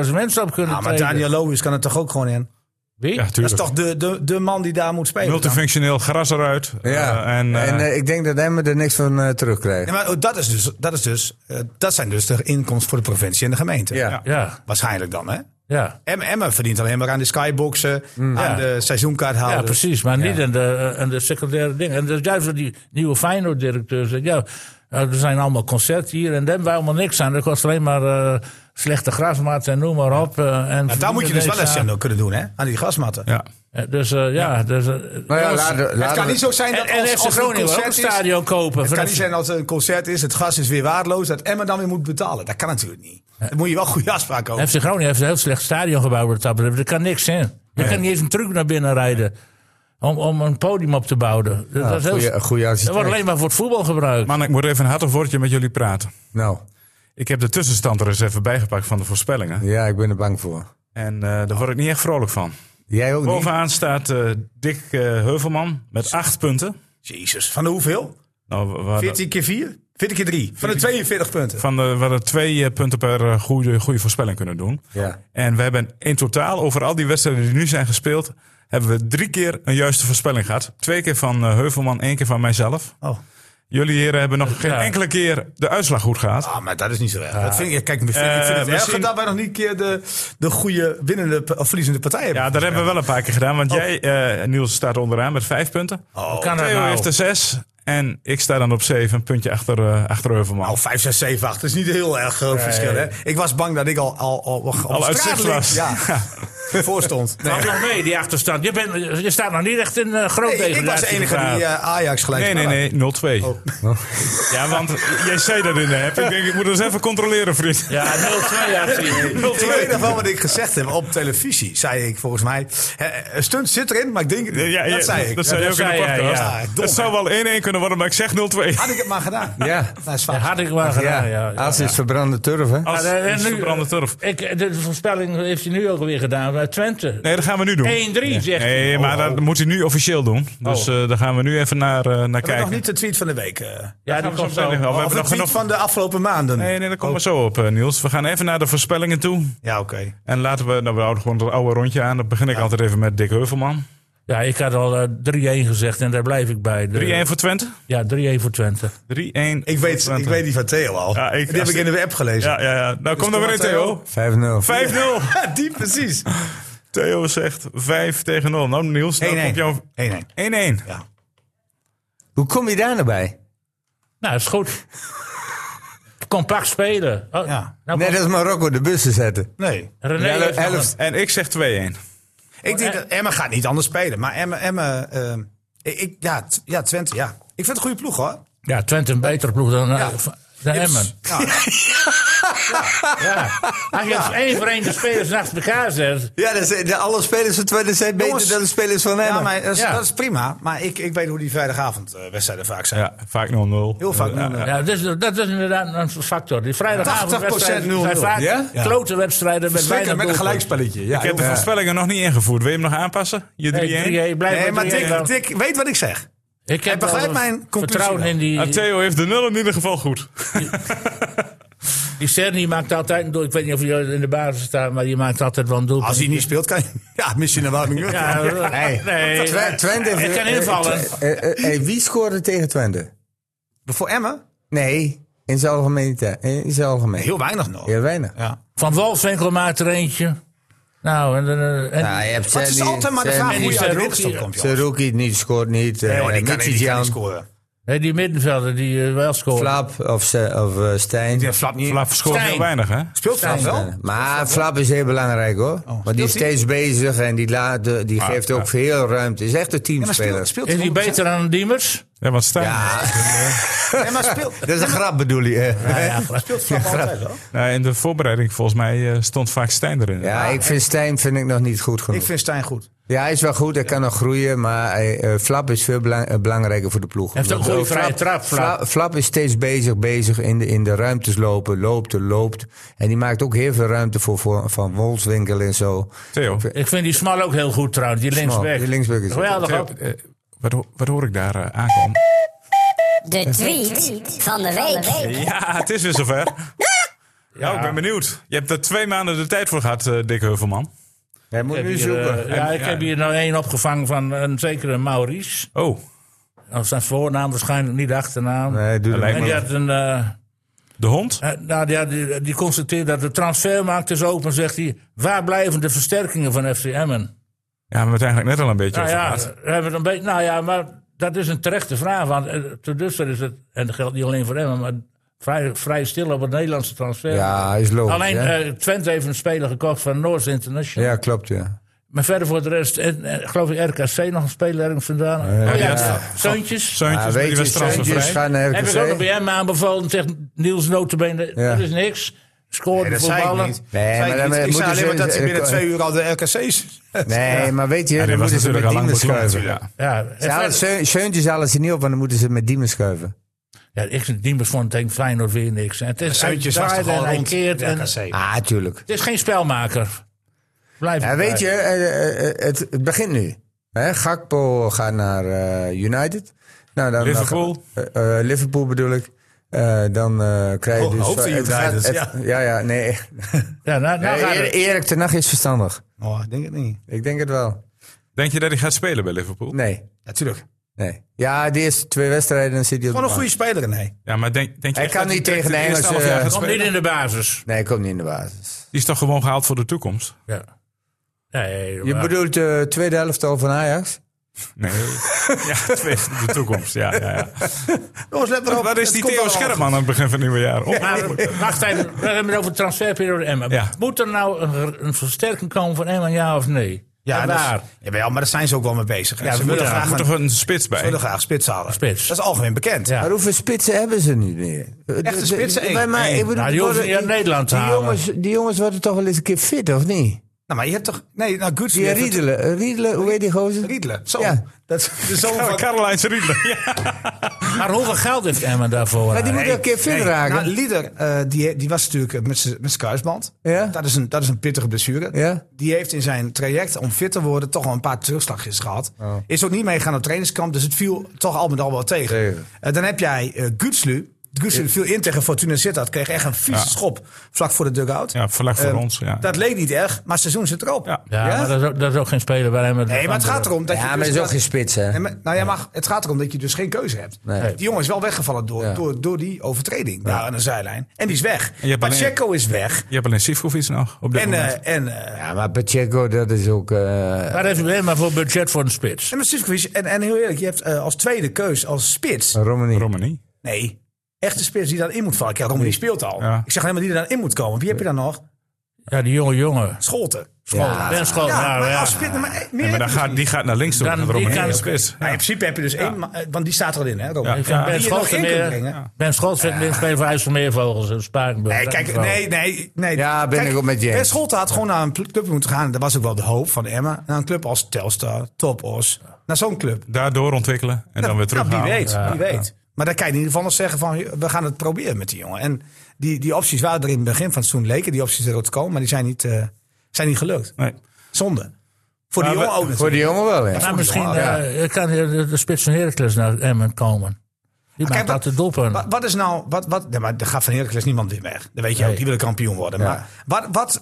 15.000 mensen op kunnen maar treden. Daniel Loewis kan het toch ook gewoon in? Wie? Ja, Dat is tuurlijk. toch de, de, de man die daar moet spelen? dan? Multifunctioneel gras eruit. Ja, eh, en, en, eh, eh, ik denk dat Emmen er niks van eh, terugkrijgt. Nee, maar dat, is dus, dat, is dus, eh, dat zijn dus de inkomsten voor de provincie en de gemeente. Ja. ja, Waarschijnlijk dan, hè? ja. Em- Emmen verdient alleen maar aan de skyboxen, aan de Ja, seizoenkaarthouders. precies, maar niet in de, eh, in de secundaire dingen. En dus juist wat die nieuwe Feyenoord-directeur zegt, ja, eh, er zijn allemaal concerten hier en daar hebben wij allemaal niks aan. Dat kost alleen maar eh, slechte grasmatten en noem maar op. eh, en Nou, daar moet je dus wel een aan. zender kunnen doen, hè? Aan die gasmatten. ja. Dus eh, ja, dus... eh, Nou ja, jongens, laten, Het laten kan we- niet zo zijn dat en, en als, FC als er een Groningen wil ook een concert is... stadion kopen. Het van kan FC niet zijn als er een concert is, het gas is weer waardeloos, dat Emmen dan weer moet betalen. Dat kan natuurlijk niet. Daar moet je wel goede afspraken over. FC Groningen heeft een heel slecht stadiongebouw wat dat betreft. Er kan niks in. Je kan niet eens een truc naar binnen rijden om, om een podium op te bouwen. Dat, is heel- Goeie, goeie dat wordt architect. alleen maar voor het voetbal gebruikt. Man, ik moet even een hartig woordje met jullie praten. Nou, Ik heb de tussenstand er eens even bijgepakt van de voorspellingen. ja, ik ben er bang voor. En eh, daar word ik niet echt vrolijk van. Jij ook niet? Bovenaan staat eh, Dick eh, Heuvelman met acht punten. Jezus, van de hoeveel? Nou, we- we hadden- 14 keer 4? 14 keer 3. Van de 42 punten. van de, we hadden twee eh, punten per eh, goede, goede voorspelling kunnen doen. Ja. En we hebben in totaal over al die wedstrijden die nu zijn gespeeld... hebben we drie keer een juiste voorspelling gehad. Twee keer van eh, Heuvelman, één keer van mijzelf. Oh. Jullie heren hebben nog geen Ja. enkele keer de uitslag goed gehad. Ah, maar dat is niet zo erg. Dat vind ik, kijk, ik vind, ik vind het Eh, misschien- erg dat wij nog niet een keer de, de goede winnende pa- of verliezende partij hebben. Ja, dat hebben we wel een paar keer gedaan. Want jij, eh, Niels, staat onderaan met vijf punten. Oh, kan dat Theo nou? heeft er zes. En ik sta dan op zeven, een puntje achter, eh, achter Heuvelman. nou, 5, 6, 7, eh, 8. Dat is niet heel erg groot verschil. Hè? Ik was bang dat ik al, al, al, al op straat uitzicht lig. was. Ja. voor stond. Valt nog mee, die achterstand. Je, bent, je staat nog niet echt in eh groot Nee, ik was de enige die degradatiegevaar. eh, Ajax gelijk Nee, nee, nee, 0-2. Oh. Oh. Ja, want jij zei dat in de app. Ik denk, ik moet dat eens even controleren, vriend. Ja, 0-2 ja, zie je. Ik weet nog wel wat ik gezegd heb op televisie, zei ik volgens mij. Eh, Een stunt zit erin, maar ik denk, Ja, ja, dat zei ik. Dat zei je dat ook in de zei jij, podcast. ja. Ah, Dom, dat zou hè? wel 1-1 kunnen worden, maar ik zeg 0-2. Ah, Had ik het maar gedaan. Ja. Dat is Ja, waar. had ik wel Ja, gedaan, ja. ja. Als is verbrande turf, hè? Als Ja, en iets nu- eh, verbrande turf. Ik, de voorspelling heeft hij nu ook weer gedaan bij Twente. Nee, dat gaan we nu doen. 1-3 zegt hij. Oh. Nee, maar dat moet hij nu officieel doen. Dus eh, daar gaan we nu even naar, eh, naar Ik heb nog kijken. niet de tweet van de week. eh Ja, die Gaan Oh, we zo meteen komt zo. nog- oh, we of hebben de nog tweet genoeg. van Oh. de afgelopen maanden. Nee, nee, daar komen we zo op, eh, Niels. We gaan even naar de voorspellingen toe. Ja, oké. En laten we, nou, we houden gewoon het oude rondje aan. Dan begin ik altijd even met Dick Heuvelman. 3-1 Ja, ik had al eh, 3-1 gezegd en daar blijf ik bij. De- voor Twente. 3-1. Ja, 3-1 voor Twente. Ik voor weet, Twente. ik weet die van Theo al. Ja, ik- die heb als- ik in de app gelezen. Ja, ja, ja. Nou, kom dan kom weer in, maar, Theo. 5-0. 5-0. Ja, die precies. 1-1. Theo zegt 5 tegen 0. Nou, Niels, nou komt jouw 1-1. 1-1. Ja. Hoe kom je daar nou bij? Nou, is goed. Compact spelen. Oh, Ja. nou, Net als Marokko de bussen zetten. Nee. René heeft nog een- Elf, En ik zeg 2-1. Ik denk dat Emma gaat niet anders spelen. Maar Emma, Emma ehm, ik, ik- ja, Tw- ja, Twente, ja. Ik vind het een goede ploeg, hoor. Ja, Twente een betere ploeg dan, eh, Ja. dan Ips. Emmen. Ja. Ja. Als je als één voor één de spelers naast elkaar zet. Ja, dat zijn, de, alle spelers van Twente zijn beter Jongens. dan de spelers van Emmen. Ja, maar dat is, Ja. dat is prima. Maar ik, ik weet hoe die vrijdagavond eh, wedstrijden vaak zijn. Ja, vaak 0-0. Heel vaak 0-0. Ja, dus, dat is inderdaad een factor. Die vrijdagavond 80% wedstrijden 0-0. zijn vaak Ja? Ja. klote wedstrijden met weinig Zeker met een doelpunten. gelijkspelletje. Ja, Ik heb de voorspellingen nog niet ingevoerd. Wil je hem nog aanpassen? Je 3-1? Nee, 3-1, blijf nee, maar met 3-1 dan. Dick, Dick, weet wat ik zeg. Ik heb begrijpt wel mijn conclusie vertrouwen wel. in die... Ah, Theo heeft de 0 in ieder geval goed. Die Cerny maakt altijd een doel. Ik weet niet of hij in de basis staat, maar die maakt altijd wel een doelpunt. Als hij niet speelt, kan je... Ja, misschien een warming up. Ja, Nee. nee. Twe- Twente Ik kan eh, invallen. Twe- eh, eh, hey, wie scoorde tegen Twente? Voor Emmen? Nee, in zijn algemeen. In zijn algemeen. Heel weinig nog. Heel weinig. Ja. Van Wolfswinkel maakt er eentje. Nou, en... en, en Nou, je hebt Maar het is Sandy, altijd maar de Sandy, vraag hoe je die uit de Saruki- winterstop komt, joh. Saruki niet, scoort niet. eh, Nee, hoor, die kan Mitsitjan, die kan niet scoren. nee, die middenvelder die eh, wel scoort. Flap of, Ste- of eh, Stijn. Die flapt niet. Vlaaf scoort Stijn. heel weinig, hè? Speelt Flap eh, wel? Oh. Maar Flap is heel belangrijk hoor. Want die is speelt hij? Ah, steeds bezig en die, laat, eh, die geeft ook veel ruimte. Is echt een Emma speelt, teamspeler. speelt Is die beter dan Diemers? Ja, want Stijn... Ja, Emma speelt, dat is een grap bedoel je. eh. speelt Flap altijd wel. Nou, in de voorbereiding volgens mij eh, stond vaak Stijn erin. Ja, ik vind Stijn vind ik nog niet goed Ik genoeg. vind Stijn goed. Ja, hij is wel goed, hij kan nog groeien, maar eh, eh, Flap is veel belang- eh, belangrijker voor de ploeg. Heeft ook een goede vrije trap, Flap. Flap, Flap is steeds bezig, bezig in de, in de ruimtes lopen, loopt er, loopt. En die maakt ook heel veel ruimte voor, voor Van Wolfswinkel en zo. Oh, Theo, Ik vind die Smal ook heel goed trouwens, die linksback. Oh die linksback is- Geweldig Theo ook. eh, wat, ho- wat hoor ik daar eh, aankomen? De tweet van de week. Ja, het is weer zover. Ja, ik ben benieuwd. Je hebt er twee maanden de tijd voor gehad, eh, Dick Heuvelman. Hij moet Ik heb nu hier, zoeken. eh, ja, ik heb hier nou één opgevangen van een zekere Maurice. Oh, Of zijn voornaam waarschijnlijk, niet de achternaam. nee, doe dat lijkt En niet. die had een... eh, de hond? Eh, Nou ja, die, die constateert dat de transfermarkt is open, zegt hij. Waar blijven de versterkingen van FC Emmen? Ja, we hebben het eigenlijk net al een beetje Nou over ja, gehad. we hebben het een beetje, nou ja, maar dat is een terechte vraag. Want eh, tot dusver is het, en dat geldt niet alleen voor Emmen, maar vrij, vrij stil op het Nederlandse transfer. Ja, is logisch. alleen hè? eh, Twente heeft een speler gekocht van Noors International. ja, klopt ja. Maar verder voor de rest, en, en, geloof ik, RKC nog een speler ergens vandaan. oh ja, Zeuntjes. Zeuntjes, Ja, maar weet die je, was transfervrij. Zeuntjes gaat naar Heb ik ook nog RKC. bij hem aanbevolen, zegt Niels Notenbeen. Ja. Dat is niks. Scoorde Nee, dat voor zei ik ballen. niet. Nee, Zei maar ik dan niet. ik moeten zei alleen ze- maar dat ze- ze binnen ze- twee uur al de RKC's. Nee, maar weet je, Ja, die dan was moeten ze natuurlijk met al lang Diemen beklommen schuiven. natuurlijk. Ja, en Ze halen verder- Seu- Seuntjes halen ze niet op, want dan moeten ze met Diemen schuiven. Ja, ik Diemers vond tegen Feyenoord weer niks. En het is Zuidjes was hij toch al en hij rond keert. En, het RKC. Ah, tuurlijk. is geen spelmaker. Blijf Ja, weet je, eh, eh, eh, het, het begint nu. Hè, Gakpo gaat naar eh, United. Nou, dan, Liverpool. Eh, eh, Liverpool bedoel ik. Eh, dan eh, krijg je Oh, dus... hoop de het gaat- United, het- ja, ja, nee. Ja, nou, nou nee gaat Erik- het. Erik ten Hag is verstandig. Oh, ik denk het niet. Ik denk het wel. Denk je dat hij gaat spelen bij Liverpool? Nee, Natuurlijk. nee. Ja, de eerste twee wedstrijden dan zit hij op Gewoon de een bank. goede speler, nee. Ja, maar denk, denk je Hij echt kan dat niet direct tegen de eerste Engelsen, halfjaar gaat eh, Komt spelen? niet in de basis. Nee, komt niet in de basis. Die is toch gewoon gehaald voor de toekomst? Ja. Nee, Je maar- bedoelt de tweede helft al van Ajax? Nee. ja, twee, de toekomst. Ja, ja, ja. Jongens, let Oh, maar op. Waar is het die komt Theo allemaal. Scherman aan het begin van het nieuwe jaar? Op- Maar wacht even, we hebben het over transferperiode Emmen. Ja. Moet er nou een, een versterking komen van Emmen, ja of nee? Ja, En dat is- waar? jawel, maar daar zijn ze ook wel mee bezig. Ja, ze moeten willen daar- graag, moet een, toch een spits ze bij? willen graag spits halen. Spits. Dat is algemeen bekend. Ja. Ja. Maar hoeveel spitsen hebben ze niet meer? Echte De- spitsen, de- één. maar- maar Eén. ik bedoel, Nou, die hoeven worden- niet uit Nederland te die halen. Jongens, die jongens worden toch wel eens een keer fit, of niet? Nou, maar je hebt toch... Nee, nou, Guts... Die heeft het- Riedelen, Riedelen, hoe heet die gozer? Riedelen. Zo. Ja. Dat is de zoon Ja, van... Carolijns Riedler. Ja. Maar hoeveel geld heeft Emmen daarvoor? Maar die eigenlijk? moet een keer fit Nee, raken. Nou, Lieder, eh, die, die was natuurlijk eh, met zijn kruisband. Ja. Dat, is een, dat is een pittige blessure. Ja. Die heeft in zijn traject om fit te worden toch wel een paar terugslagjes gehad. Is ook niet meegegaan op trainingskamp, dus het viel toch al met al wel tegen. Tegen. Eh, dan heb jij eh, Gutslu. Gutslu viel in tegen Fortuna Sittard. Kreeg echt een vieze Ja. schop vlak voor de dugout. Ja, vlak voor Eh, ons. Ja. Dat leek niet erg, maar het seizoen zit erop. Ja. Ja, maar dat is, ook, dat is ook geen speler bij Emmen. Nee, maar het gaat erom dat je... Ja, maar dus dat is ook dat- geen spits, hè? Nee, maar- nou ja, maar het gaat erom dat je dus geen keuze hebt. Nee. Die jongen is wel weggevallen door, Ja. door, door die overtreding daar aan de zijlijn. En die is weg. je hebt alleen- Pacheco is weg. Je hebt alleen Sivkovic nog op dit En, moment. eh en, eh Ja, maar Pacheco, dat is ook... eh, Waar heeft Emmen voor budget voor een spits? en, met Sivkovic, en, en heel eerlijk, je hebt eh, als tweede keus als spits. Romani. Romani. Nee, echte spits die dan in moet vallen. Ja, Romney speelt al. Ja. Ik zeg alleen maar die er dan in moet komen. Wie heb je dan nog? Ja, die jonge jongen. Scholten. Ja. Ben School, ja, nou, maar ja. als spits... Maar, eh, meer Ja, maar dan heb je gaat, dus die niet. gaat naar links toe. Dan- die Romani kan- is spits. Maar Ja. in principe heb je dus één, maar, eh, want die staat er al in, hè, Romney? Ja. Ja. Die Ben je Scholten nog in kunt meer- brengen. Ben Scholten vindt meer spelen voor IJsselmeervogels en Spakenburg. Nee, kijk, nee, nee, nee. Ja, ben Kijk, ik ook met je eens. Ben Scholten had gewoon naar een pl- club moeten gaan. Dat was ook wel de hoop van Emma. Naar een club als Telstar, Topos. Naar zo'n club. Daardoor ontwikkelen en dan weer Nou, terughalen. wie weet, wie weet. Maar dan kan je in ieder geval nog zeggen van... we gaan het proberen met die jongen. En die, die opties waren er in het begin van het seizoen leken. Die opties erop te komen, maar die zijn niet, eh, zijn niet gelukt. Nee. Zonde. Voor die Maar jongen we- ook Voor natuurlijk. die jongen wel, hè? Maar misschien Ja. eh, kan hier de, de spits van Heracles naar Emmen komen. Die maakt Kijk, wat- altijd doelpunten. Wat, wat is nou... Wat, wat, nee, maar er gaat van Heracles niemand weer weg. Dat weet je ook. Die willen kampioen worden. Maar wat... wat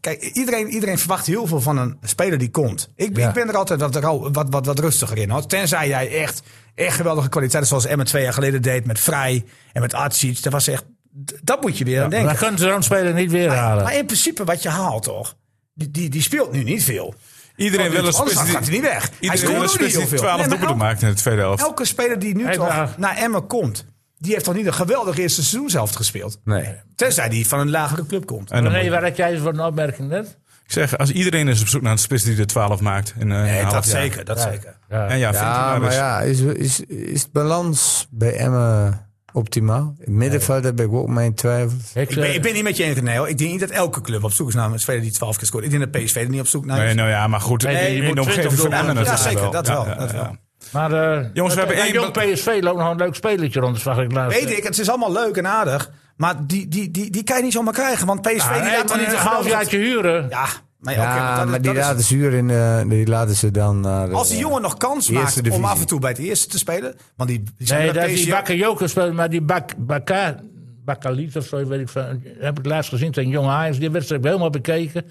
kijk, iedereen, iedereen verwacht heel veel van een speler die komt. Ik, Ja. ik ben er altijd wat, rau- wat, wat, wat rustiger in. Hoor. Tenzij jij echt, echt geweldige kwaliteiten... zoals Emma twee jaar geleden deed met Vrij en met Artsic. Dat was echt... d- Dat moet je weer aan denken. Maar kunnen ze zo'n speler niet weer halen? Maar in principe wat je haalt toch... Die, die, die speelt nu niet veel. Iedereen wil een Anders spits Oh, gaat hij die, niet weg. hij iedereen scoort wil een ook spits niet die heel veel. 12 Nee, maar doelpunten nou- elke- maakt in de tweede helft. Elke speler die nu Hey, toch maar- naar Emmen komt... die heeft toch niet een geweldig eerste seizoen zelf gespeeld? Nee. Tenzij die van een lagere club komt. Eh, En dan moet nee, je- waar heb jij eens voor een opmerking net? ik zeg, als iedereen is op zoek naar een spits die de 12 maakt in eh, een Nee, half nou, dat jaar. zeker, dat zeker. Ja. En ja, vindt hij Ja, maar maar eens. ja, is, is, is de balans bij Emmen optimaal? In middenveld heb ik ook mijn twijfels. Ik, Ik ben, eh, ik ben niet met je eens, nee, hoor. Ik denk niet dat elke club op zoek is naar een speler die 12 keer scoort. Ik denk dat PSV er niet op zoek naar Nee, is. nou ja, maar goed. Nee, die in moet de omgeving 20 van Emmen doelpunten. Ja, natuurlijk zeker, dat wel. Ja, dat ja, wel. ja. maar, eh, Jongens, we dat- hebben dat één Jong be- PSV loopt nog een leuk spelletje rond, dat zag ik laatst. eh. Weet ik, het is allemaal leuk en aardig. Maar die, die, die, die kan je niet zomaar krijgen. Want PSV Ah, die nee, laat dan maar niet een een geweldige- halfjaartje huren. Ja, maar, ja, oké, Ja, maar dat- maar die dat is- laten ze huur in de, die laten ze dan naar eh, de- Als die jongen nog kans Eerste maakt om divisie. af en toe bij het eerste te spelen. Want die, die zijn Nee, bij dat is PSV die Bakker Joker speelt, maar die Bak, Bakka, Bakkaliet of zo, weet ik van, heb ik laatst gezien tegen Jong Ajax. Die wedstrijd heb ik helemaal bekeken.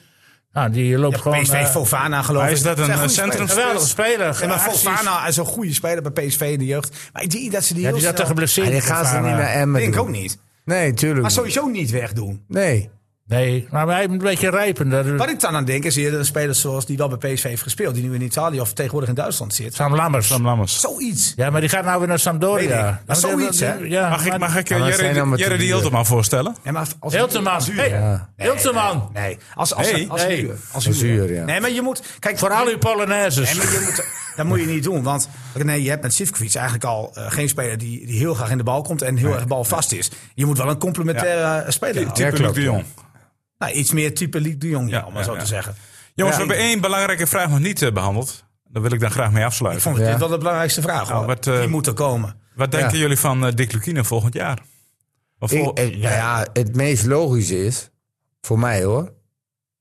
Nou, die loopt Ja, gewoon... PSV eh, Fofana geloof Maar ik. is dat Zijn een, goede eh, centrum- spelers. geweldige speler. Ja, maar Acties. Fofana is een goede speler bij PSV in de jeugd. Maar ik denk niet dat ze die Ja, heel die zat snel- er geblesseerd. Ja, Ah, die gaan ze Fofana. niet naar Emmen denk ik doen. ook niet. Nee, tuurlijk Maar niet. sowieso niet wegdoen. Nee. Nee, maar hij moet een beetje rijpen. Dat Wat ik dan aan denk is eerder een speler zoals die wel bij PSV heeft gespeeld. Die nu in Italië of tegenwoordig in Duitsland zit. Sam Lammers. Sam Lammers. Zoiets. Ja, maar die gaat nou weer naar Weet ik. Sampdoria. Maar Ja, zoiets, die- hè? Ja, Mag ik, maar- mag ik Maar eh, Jerry dat zijn allemaal eh. Jerry te de duur. Hilteman voorstellen? Ja, maar als- als- Hilteman. als huur. Hey, Ja. Hilteman. Nee, als, als, Nee. als, Nee. huur. Als Als huur. huur, ja. Nee, maar je moet... Kijk, Voor al uw Nee, maar Polonaises. je moet, dat moet je niet doen. Want René, je hebt met Sivkovic eigenlijk al eh, geen speler die, die heel graag in de bal komt en heel erg balvast is. Je moet wel een complementaire eh, speler Type halen. Luc klopt, de Jong. Nou, iets meer type Ligue de Jong, ja, Ja, om ja, het zo ja. te zeggen. Jongens, Ja. we hebben één belangrijke vraag nog niet eh, behandeld. Daar wil ik dan graag mee Ik afsluiten. vond het Ja. dit wel de belangrijkste vraag. Nou, hoor. wat, eh, die moet er komen. Wat denken jullie van eh, Dick Lukine volgend jaar? Of vol- Ik, eh, nou ja, het meest logische is, voor mij hoor,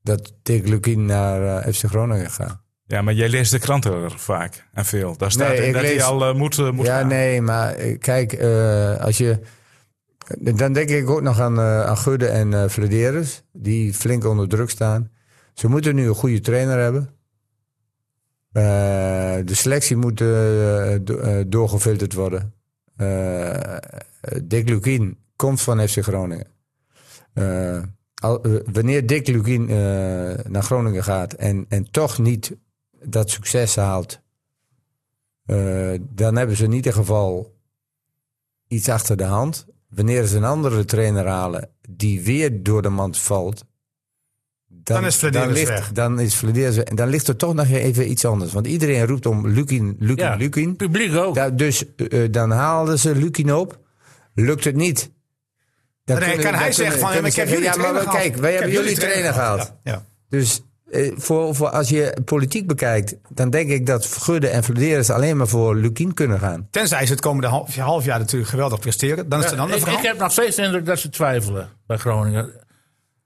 dat Dick Lukien naar eh, FC Groningen gaat. ja, maar jij leest de kranten er vaak en veel. Daar staat Nee, in ik dat lees- hij al eh, moet, eh, moet Ja, gaan. nee, maar eh, kijk, eh, als je. Dan denk ik ook nog aan, eh aan Gudde en eh Flederis, die flink onder druk staan. Ze moeten nu een goede trainer hebben. Eh, de selectie moet eh, do- eh, doorgefilterd worden. Eh, Dick Lukien komt van FC Groningen. Eh, al- eh, wanneer Dick Lukien eh, naar Groningen gaat en, en toch niet dat succes haalt eh, dan hebben ze in ieder geval iets achter de hand. Wanneer ze een andere trainer halen die weer door de mand valt, dan, Dan is Flederis dan ligt, weg. Dan, is Flederis weg. En dan ligt er toch nog even iets anders. Want iedereen roept om Lukin, Lukin, Ja, Lukin. publiek ook. Da- dus eh, dan haalden ze Lukin op. Lukt het niet. Dan Nee, kunnen- kan dan hij kunnen- zeggen van, kunnen ik heb zeggen, jullie ja, maar trainer we- gehaald. Kijk, wij Ik hebben heb jullie trainer gehaald. Ja. Dus eh, voor, voor als je politiek bekijkt, dan denk ik dat Gudde en Flederis alleen maar voor Lukien kunnen gaan. Tenzij ze het komende half, half jaar natuurlijk geweldig presteren. Dan is het een ander Ik, verhaal. ik heb nog steeds de indruk dat ze twijfelen bij Groningen.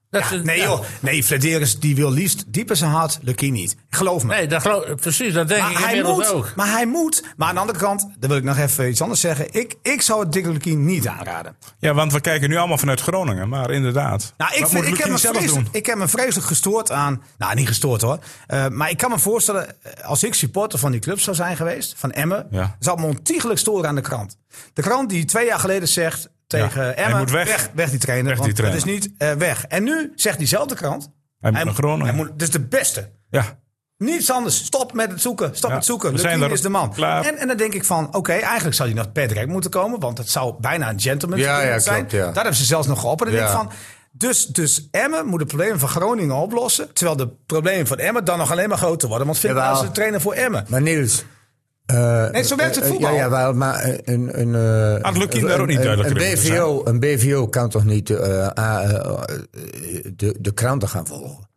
Dat ze- Nee ja. joh, nee, Flederis die wil liefst dieper zijn hart, Lucky niet. Geloof me. Nee, dat geloof, precies, dat denk ik Maar hij, inmiddels moet, ook. maar hij moet. Maar aan de andere kant, daar wil ik nog even iets anders zeggen. Ik, ik zou het Dick Lucky niet aanraden. Ja, want we kijken nu allemaal vanuit Groningen, maar inderdaad. Nou, ik, Wat vind- moet ik, heb me Lukien zelf vreselijk, doen? ik heb me vreselijk gestoord aan. Nou, niet gestoord hoor. Eh, maar ik kan me voorstellen, eh, als ik supporter van die club zou zijn geweest, van Emmen, Ja. zou ik me ontiegelijk storen aan de krant. De krant die twee jaar geleden zegt tegen hij Emmen: moet weg. weg, weg die trainer. Weg die want trainer. Het is niet eh, weg. En nu zegt diezelfde krant: Hij moet naar Groningen. hij moet- Het is de beste. Ja. Niets anders. Stop met het zoeken. Stop Ja, met zoeken. we zijn Lukien er. is de man. Klaar. En, en dan denk ik van, oké, eigenlijk zou hij nog per direct moeten komen. Want het zou bijna een gentleman Ja, agreement ja, zijn. klopt, ja. Daar hebben ze zelfs nog geopperd. Dan Ja. denk ik van, dus, dus Emmen moet de problemen van Groningen oplossen. Terwijl de problemen van Emmen dan nog alleen maar groter worden. Want Finn Jawel. is de trainer voor Emmen. Maar Niels. eh, Nee, zo werkt het eh, voetbal. Ja, ja wel, maar een. een, Ah, eh, Had Lukien daar ook een- niet een- duidelijk een in moeten BVO, een BVO kan toch niet eh, ah, eh, eh, de, de kranten gaan volgen?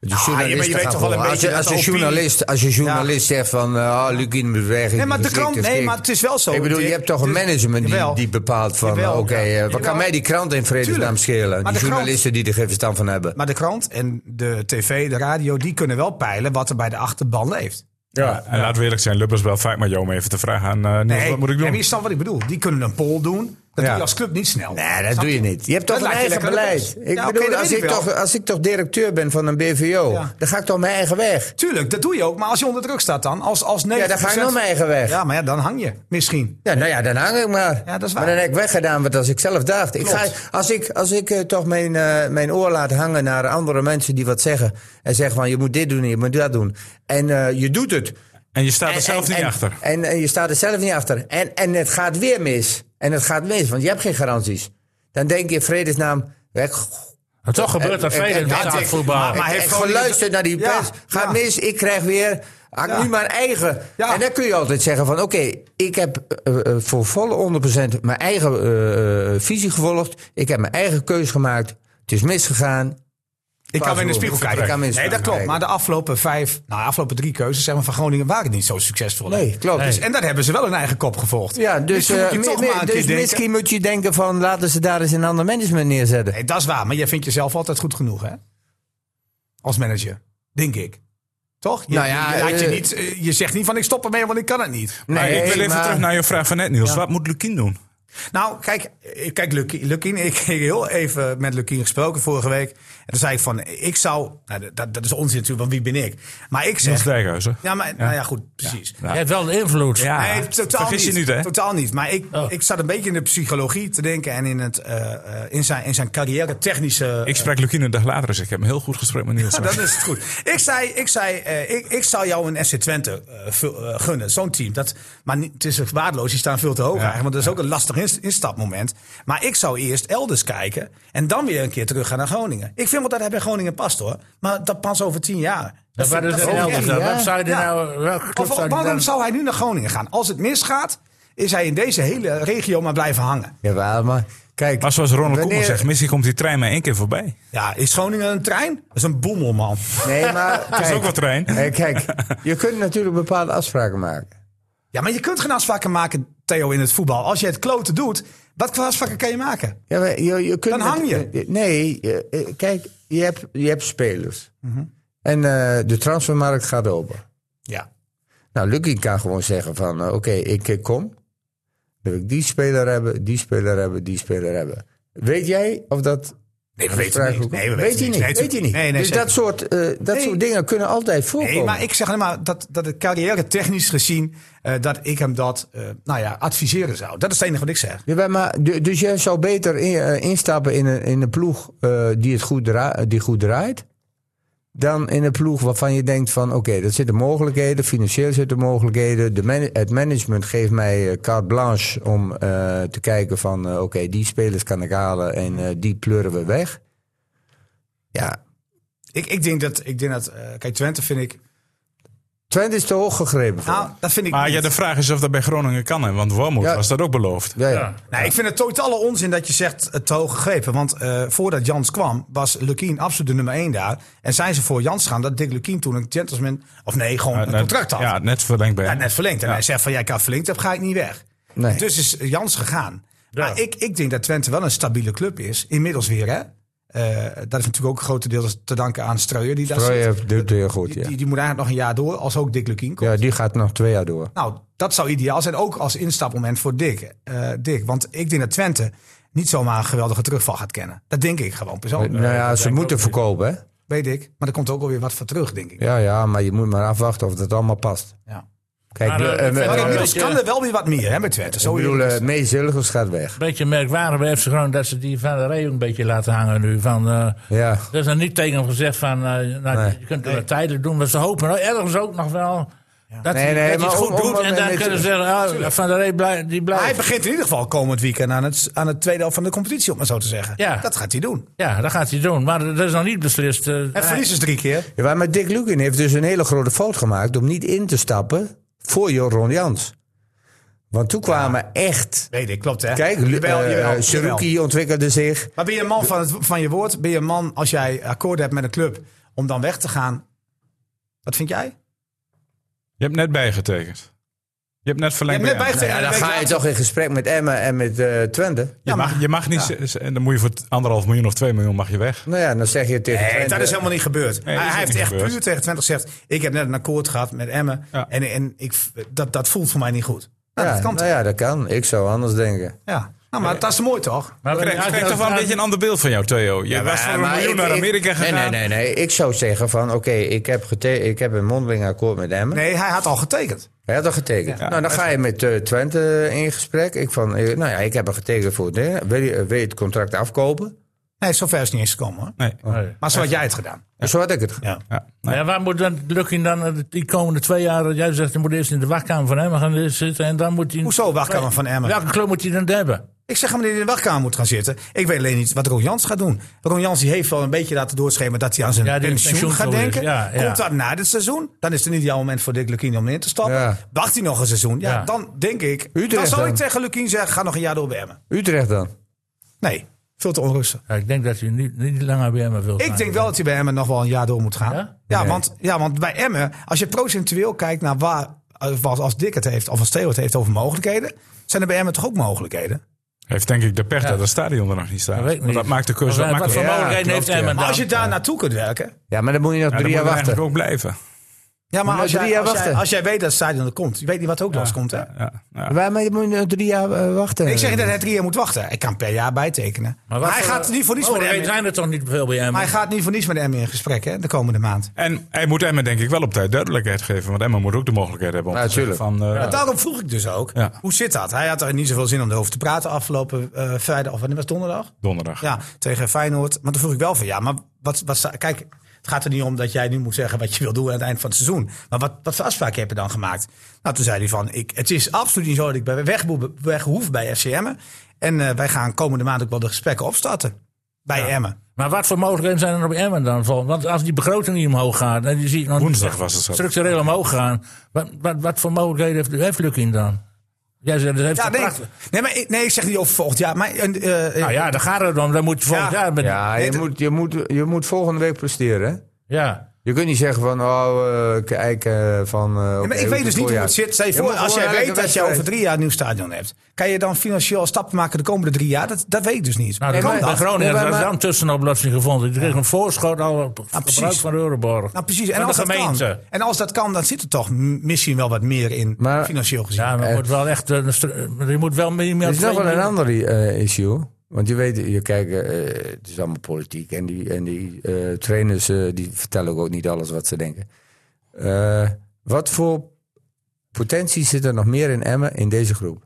De journalisten Ah, je weet gaan toch wel een volgen. beetje als, je- dat als, de een opinie- journalist, als je journalist zegt van. eh, Ah, Lukien moet weg. Nee, maar de krant- nee, maar het is wel zo, Ik bedoel, je Dick. hebt toch een Het is- management die, Jawel. die bepaalt van. Oké, Jawel, eh, ja. wat Jawel. kan mij die krant in vredesnaam Tuurlijk. schelen? Die Maar de krant- journalisten die er geen verstand van hebben. Maar de krant en de tv, de radio, die kunnen wel peilen wat er bij de achterban leeft. Ja, en laten we eerlijk zijn, Lubbers wel vaak maar jou om even te vragen aan eh, Niels, Nee, wat moet ik doen? En wie snapt wat ik bedoel? Die kunnen een poll doen. Dat Ja. doe je als club niet snel. Nee, dat Snap doe je niet. Je hebt toch Dan een laat je eigen lekker de beleid. best. Ik Ja, oké, bedoel, dat als, weet ik ik wel. toch, als ik toch directeur ben van een BVO, Ja. dan ga ik toch mijn eigen weg. Tuurlijk, dat doe je ook. Maar als je onder druk staat dan, als, als 90%... Ja, dan ga ik nog mijn eigen weg. Ja. Ja, maar ja, dan hang je. Misschien. nou ja, dan hang ik maar. Ja, dat is waar. Maar dan heb ik weggedaan wat als ik zelf dacht. Ik Klopt. ga, als ik, als ik eh, toch mijn, eh, mijn oor laat hangen naar andere mensen die wat zeggen. En zeggen van je moet dit doen en je moet dat doen. En eh, je doet het. En je staat er En- zelf en- niet en- achter. En, en je staat er zelf niet achter. En, en het gaat weer mis. En het gaat mis, want je hebt geen garanties. Dan denk je in vredesnaam, weg, Maar toch gebeurt Eh, dat en- veel en- in ja, betaald ik- voetbal. maar- maar- hij Hij heeft heeft gewoon- geluisterd naar die Ja, pers. Ga ja. mis, ik krijg weer. Hak Ja. nu mijn eigen. Ja. En dan kun je altijd zeggen van... oké, ik heb eh, eh, voor volle 100% mijn eigen eh, eh, visie gevolgd. Ik heb mijn eigen keus gemaakt. Het is misgegaan. Ik kan Klaas weer in de Boer, spiegel ik kijken. kan in de nee, spiegel dat klopt. kijken. Maar de afgelopen vijf, nou, de afgelopen drie keuzes zeg maar, van Groningen waren niet zo succesvol. hè? Nee, klopt. eh, Dus, en daar hebben ze wel hun eigen kop gevolgd. Ja, dus, Misschien moet je eh, toch mi- mi- maar een dus keer denken. misschien moet je denken van... laten ze daar eens een ander management neerzetten. Nee, dat is waar. Maar jij vindt jezelf altijd goed genoeg, hè? Als manager. Denk ik. Toch? Je, Nou ja, je, je laat je, eh, niet, eh, je zegt niet van ik stop ermee, want ik kan het niet. Maar Ah, ik wil even maar- terug naar je vraag van net, Niels. Wat moet Lukien doen? Nou, kijk, eh, kijk Lucky- Lukien, ik heb heel even met Lukien gesproken vorige week. En toen zei ik van, ik zou, nou, dat, dat is onzin natuurlijk, want wie ben ik? Maar ik Niels zeg, Dijkhuizen. ja, maar, nou ja, goed, precies. Je hebt wel de invloed. Ja. Nee, totaal vergis je niet. niet, hè? Totaal niet. Maar ik, Oh. ik zat een beetje in de psychologie te denken en in, het, eh, eh, in, zijn, in zijn carrière technische... Ik sprak Lukien een dag later, dus ik heb een heel goed gesprek met Niels. dan is het goed. Ik zei, ik, zei eh, ik, ik zou jou een FC Twente eh, vul- eh, gunnen, zo'n team. Dat, maar niet, het is waardeloos, die staan veel te hoog eigenlijk. Want dat is ook een lastig inst- instapmoment. Maar ik zou eerst elders kijken en dan weer een keer teruggaan naar Groningen. Ik vind wel dat hij bij Groningen past hoor. Maar dat past over tien jaar. Dat waren dus vind ik elders. echt dan. niet. Waarom zou je Ja. nou... Welke club Of zou je waarom dan- zou hij nu naar Groningen gaan? Als het misgaat, is hij in deze hele regio maar blijven hangen. Jawel, maar kijk... Maar zoals Ronald wanneer- Koeman zegt, misschien komt die trein maar één keer voorbij. Ja, is Groningen een trein? Dat is een boemel, man. Nee, maar kijk, Dat is ook wat trein. eh, kijk, je kunt natuurlijk bepaalde afspraken maken. Ja, maar je kunt geen afspraken maken, Theo, in het voetbal. Als je het kloten doet, wat voor afspraken kan je maken? Ja, maar je, je kunt Dan hang je. eh, Nee, eh, eh, kijk, je hebt, je hebt spelers. Mhm. En eh, de transfermarkt gaat open. Ja. Nou, Lucky kan gewoon zeggen van, eh, oké, ik eh, kom. Dan wil ik die speler hebben, die speler hebben, die speler hebben. Weet jij of dat... Nee, we afspraken weten niks. komt? Nee, we weet weten je niks. niet, Nee, weet je niet. nee, nee, dus zeker. dat, soort, eh, dat Nee. soort dingen kunnen altijd voorkomen. Nee, maar ik zeg alleen maar dat, dat het carrière technisch gezien, eh, dat ik hem dat, eh, nou ja, adviseren zou. Dat is het enige wat ik zeg. Ja, maar, du- dus jij zou beter in- eh, instappen in een, in een ploeg eh, die, het goed draa- die goed draait. dan in een ploeg waarvan je denkt van... oké, dat zitten mogelijkheden, financieel zitten mogelijkheden. De man- het management geeft mij eh, carte blanche om eh, te kijken van... eh, oké, die spelers kan ik halen en eh, die pleuren we weg. Ja, Ik, ik denk dat, ik denk dat eh, kijk, Twente vind ik, Twente is te hoog gegrepen voor. nou, dat vind ik Maar niet. ja, de vraag is of dat bij Groningen kan. Hè? Want Wormoed Ja. was dat ook beloofd. ja, ja. Ja. Nou, ik vind het totale onzin dat je zegt het te hoog gegrepen. Want eh, voordat Jans kwam, was Lukien absoluut de nummer 1 daar. En zijn ze voor Jans gaan dat Dick Lukien toen een gentleman, of nee, gewoon een net- contract had. Ja, net verlengd bij Ja, hem. net verlengd. En hij zegt van, ja, ik had verlengd, dan ga ik niet weg. Nee. Dus is Jans gegaan. Ja. Maar ik, ik denk dat Twente wel een stabiele club is. Inmiddels weer, hè. Eh, dat is natuurlijk ook grotendeels te danken aan Streuer. Die, daar Troje zit. doet weer goed, die, ja. die, die moet eigenlijk nog een jaar door, als ook Dick Lukien komt. Ja, die gaat nog twee jaar door. Nou, dat zou ideaal zijn. Ook als instapmoment voor Dick. Eh, Dick. Want ik denk dat Twente niet zomaar een geweldige terugval gaat kennen. Dat denk ik gewoon persoonlijk. nou ja, ze moeten verkopen, hè? Weet ik. Maar er komt ook alweer wat voor terug, denk ik. Ja, ja, maar je moet maar afwachten of dat allemaal past. Ja. Kijk, Ah, Maar, de- eh, eh, verder- Maar eh, inmiddels weet je- kan er wel weer wat meer hè, met Twente. Zo ik bedoel, eerlijk is eh het. Mee Zilligers gaat weg. beetje merkwaardig bij FC Groningen dat ze die van de Rij ook een beetje laten hangen nu. Van, eh, Ja. er is nog niet tegen hem gezegd van, eh, nou, Nee. je kunt het wel tijdelijk doen. Maar ze hopen nou ergens ook nog wel dat, Nee, hij, dat nee, hij maar het om- goed om- doet. om- En dan nee, kunnen ze zeggen, ah, van de Rij blij- die Maar blijft. hij begint in ieder geval komend weekend aan het, aan het tweede helft van de competitie, om maar zo te zeggen. Ja. Dat gaat hij doen. Ja, dat gaat hij doen. Maar dat is nog niet beslist. eh, En hij- verlies is dus drie keer. ja, maar Dick Lukin heeft dus een hele grote fout gemaakt om niet in te stappen voor Joron Jans. Want toen kwamen echt... Weet ik, klopt hè. Kijk, Lu- Jawel, eh, jawel, Saruki jawel. ontwikkelde zich. Maar ben je een man van, het, van je woord? Ben je een man, als jij akkoord hebt met een club, om dan weg te gaan? Wat vind jij? Je hebt net bijgetekend. Je hebt net verlengd Je hebt net bij hem. bijgetekend. Ja, dan Weet ga je later. toch in gesprek met Emmen en met eh, Twente. Je mag, je mag niet... z- z- En dan moet je voor t- anderhalf miljoen of twee miljoen mag je weg. Nou ja, dan zeg je tegen Nee, Twente... dat is helemaal niet gebeurd. Nee, dat is hij hij ook heeft niet echt gebeurd. puur tegen 20 gezegd: Ik heb net een akkoord gehad met Emmen. Ja. En, en ik, dat, dat voelt voor mij niet goed. Nou, ja, dat kan toch? nou ja, dat kan. Ik zou anders denken. Ja. Nou, maar dat is mooi toch? Eh, maar Ik krijg, als- ik krijg toch wel een als- beetje een ander beeld van jou, Theo. Je was voor een maar miljoen ik- naar ik- Amerika gegaan. Nee, nee, nee, nee. Ik zou zeggen van, oké, ik, heb gete- ik heb een mondeling akkoord met Emmen. Nee, hij had al getekend. Hij had al getekend. nou, dan ga je met eh, Twente eh, in gesprek. Ik van, eh, nou ja, ik heb er getekend voor. Nee, wil, je, eh, wil je het contract afkopen? Nee, zover is het niet eens gekomen hoor. Nee. Nee. Maar zo had jij het gedaan. Zo had ik het. Ja. Ja. Nou ja, waar moet dan Lucky dan eh, die komende twee jaar, eh, jij zegt, hij moet eerst in de wachtkamer van Emmen gaan eh, zitten en dan moet hij... Hoezo wachtkamer van Emmen? Welke club moet hij dan hebben? Ik zeg hem dat hij in de wachtkamer moet gaan zitten. Ik weet alleen niet wat Ron Jans gaat doen. Ron Jans die heeft wel een beetje laten doorschemeren dat hij aan zijn Ja, die pensioen, pensioen gaat toe is. denken. Ja, ja. Komt dat na dit seizoen? Dan is het een ideaal moment voor Dick Lukien om in te stappen. Ja. Wacht hij nog een seizoen? Ja, Ja. dan denk ik. Utrecht dan zou ik dan. tegen Lukien zeggen: ga nog een jaar door bij Emmen. Utrecht dan. Nee, veel te onrustig. Ja, ik denk dat hij niet, niet langer bij Emmen wil Ik zijn. denk wel dat hij bij Emmen nog wel een jaar door moet gaan. Ja, Ja? Nee. want, ja want bij Emmen, als je procentueel kijkt naar waar, eh, wat als Dick het heeft of als Theo het heeft over mogelijkheden, zijn er bij Emmen toch ook mogelijkheden? Heeft denk ik de pech dat het stadion er nog niet staat. Dat weet ik Want dat niet. maakt de keuze ook Wat- Wat voor makkelijker. Ja, mogelijkheden klopt, heeft Emmen Maar dan? als je daar naartoe kunt werken. Ja, maar dan moet je nog Ja, dan drie moet jaar je eigenlijk wachten. ook blijven. Ja, maar Maar als, drie jij, jaar als, jij, wachten. als jij weet dat het stadion er komt, je weet niet wat er ook loskomt. Hè? Ja, ja. Waar, maar je moet nog drie jaar eh, wachten. Ik zeg niet dat hij drie jaar moet wachten. Ik kan per jaar bijtekenen. Maar, wat hij voor- Oh, gaat niet voor niets met Mogelijkheden Emmen. zijn er toch niet veel bij Maar Emmen? hij gaat niet voor niets met Emmen in gesprek hè, de komende maand. En hij moet Emma denk ik wel op tijd duidelijkheid geven. Want Emma moet ook de mogelijkheid hebben om Ja, te zeggen tuurlijk. van... eh, Maar daarom vroeg ik dus ook, Ja. hoe zit dat? Hij had er niet zoveel zin om erover te praten afgelopen eh, vrijdag, of wanneer was het, donderdag? Donderdag. Ja, tegen Feyenoord. Maar toen vroeg ik wel van ja, maar wat, wat sta- kijk, het gaat er niet om dat jij nu moet zeggen wat je wil doen aan het eind van het seizoen. Maar wat, wat voor afspraken heb je dan gemaakt? Nou, toen zei hij van ik, het is absoluut niet zo dat ik bij weg, moet- weg hoef bij FCM. En eh, wij gaan komende maand ook wel de gesprekken opstarten bij Emmen. Maar wat voor mogelijkheden zijn er nog bij Emmen dan? voor? Want als die begroting niet omhoog gaat, en die zie ik nog Woensdag was het zo. structureel omhoog gaan. Wat, wat, wat voor mogelijkheden heeft, heeft Lukin dan? Jij zegt, dat heeft Ja, een nee, prachtig- nee, maar, ik- nee, ik zeg niet over volgend jaar. Maar, en, eh, Nou ja, daar gaat het om. Dan moet je volgend Ja. jaar met... Ja, je Nee, moet, je, moet, je moet volgende week presteren. hè? ja. Nou, Je kunt niet zeggen van, oh, eh, kijk, eh, van... eh, oké, Ja, maar ik weet dus niet hoe voorjaar. het zit. Stel je Je voor, moet als gewoon jij weet elke dat je over wedstrijd- drie jaar een nieuw stadion hebt, kan je dan financieel stappen maken de komende drie jaar? Dat, dat weet ik dus niet. Nou, Kan dat dat? kan bij Groningen Nee, dat is maar- Nou, dan een tussenoplossing gevonden. Die kreeg een voorschot al op precies. gebruik van Euroborg. Nou, precies. En Van als, de dat kan, gemeente. en als dat kan, dan zit er toch m- misschien wel wat meer in, Maar- financieel gezien. Ja, maar het wordt wel echt... eh, een stru- maar Je moet wel minimaal... Er is nog wel twee een miljoen- ander eh, issue. Want je weet, je kijkt, eh, het is allemaal politiek. En die, en die eh, trainers eh, die vertellen ook niet alles wat ze denken. Eh, wat voor potentie zit er nog meer in Emmen in deze groep?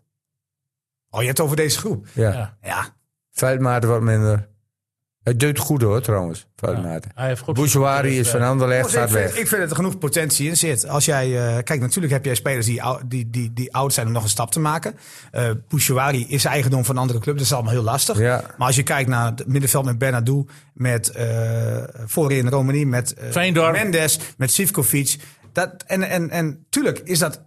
Oh, je hebt het over deze groep. Ja. Ja. Ja, Veldmaat wordt minder. Het deed goed hoor, trouwens. Vanuit Hij heeft goed eh, Bouchouari is van Anderlecht, Dus ik, gaat vind, weg. ik vind dat er genoeg potentie in zit. Als jij, eh, kijk, natuurlijk heb jij spelers die, ou- die, die, die oud zijn om nog een stap te maken. Eh Bouchouari is eigendom van een andere club, dat is allemaal heel lastig. Ja. Maar als je kijkt naar het middenveld met Bernardo, met eh voorin Romani, met eh, Veendorp. Mendes, met Sivkovic. Dat, en, en, en tuurlijk is dat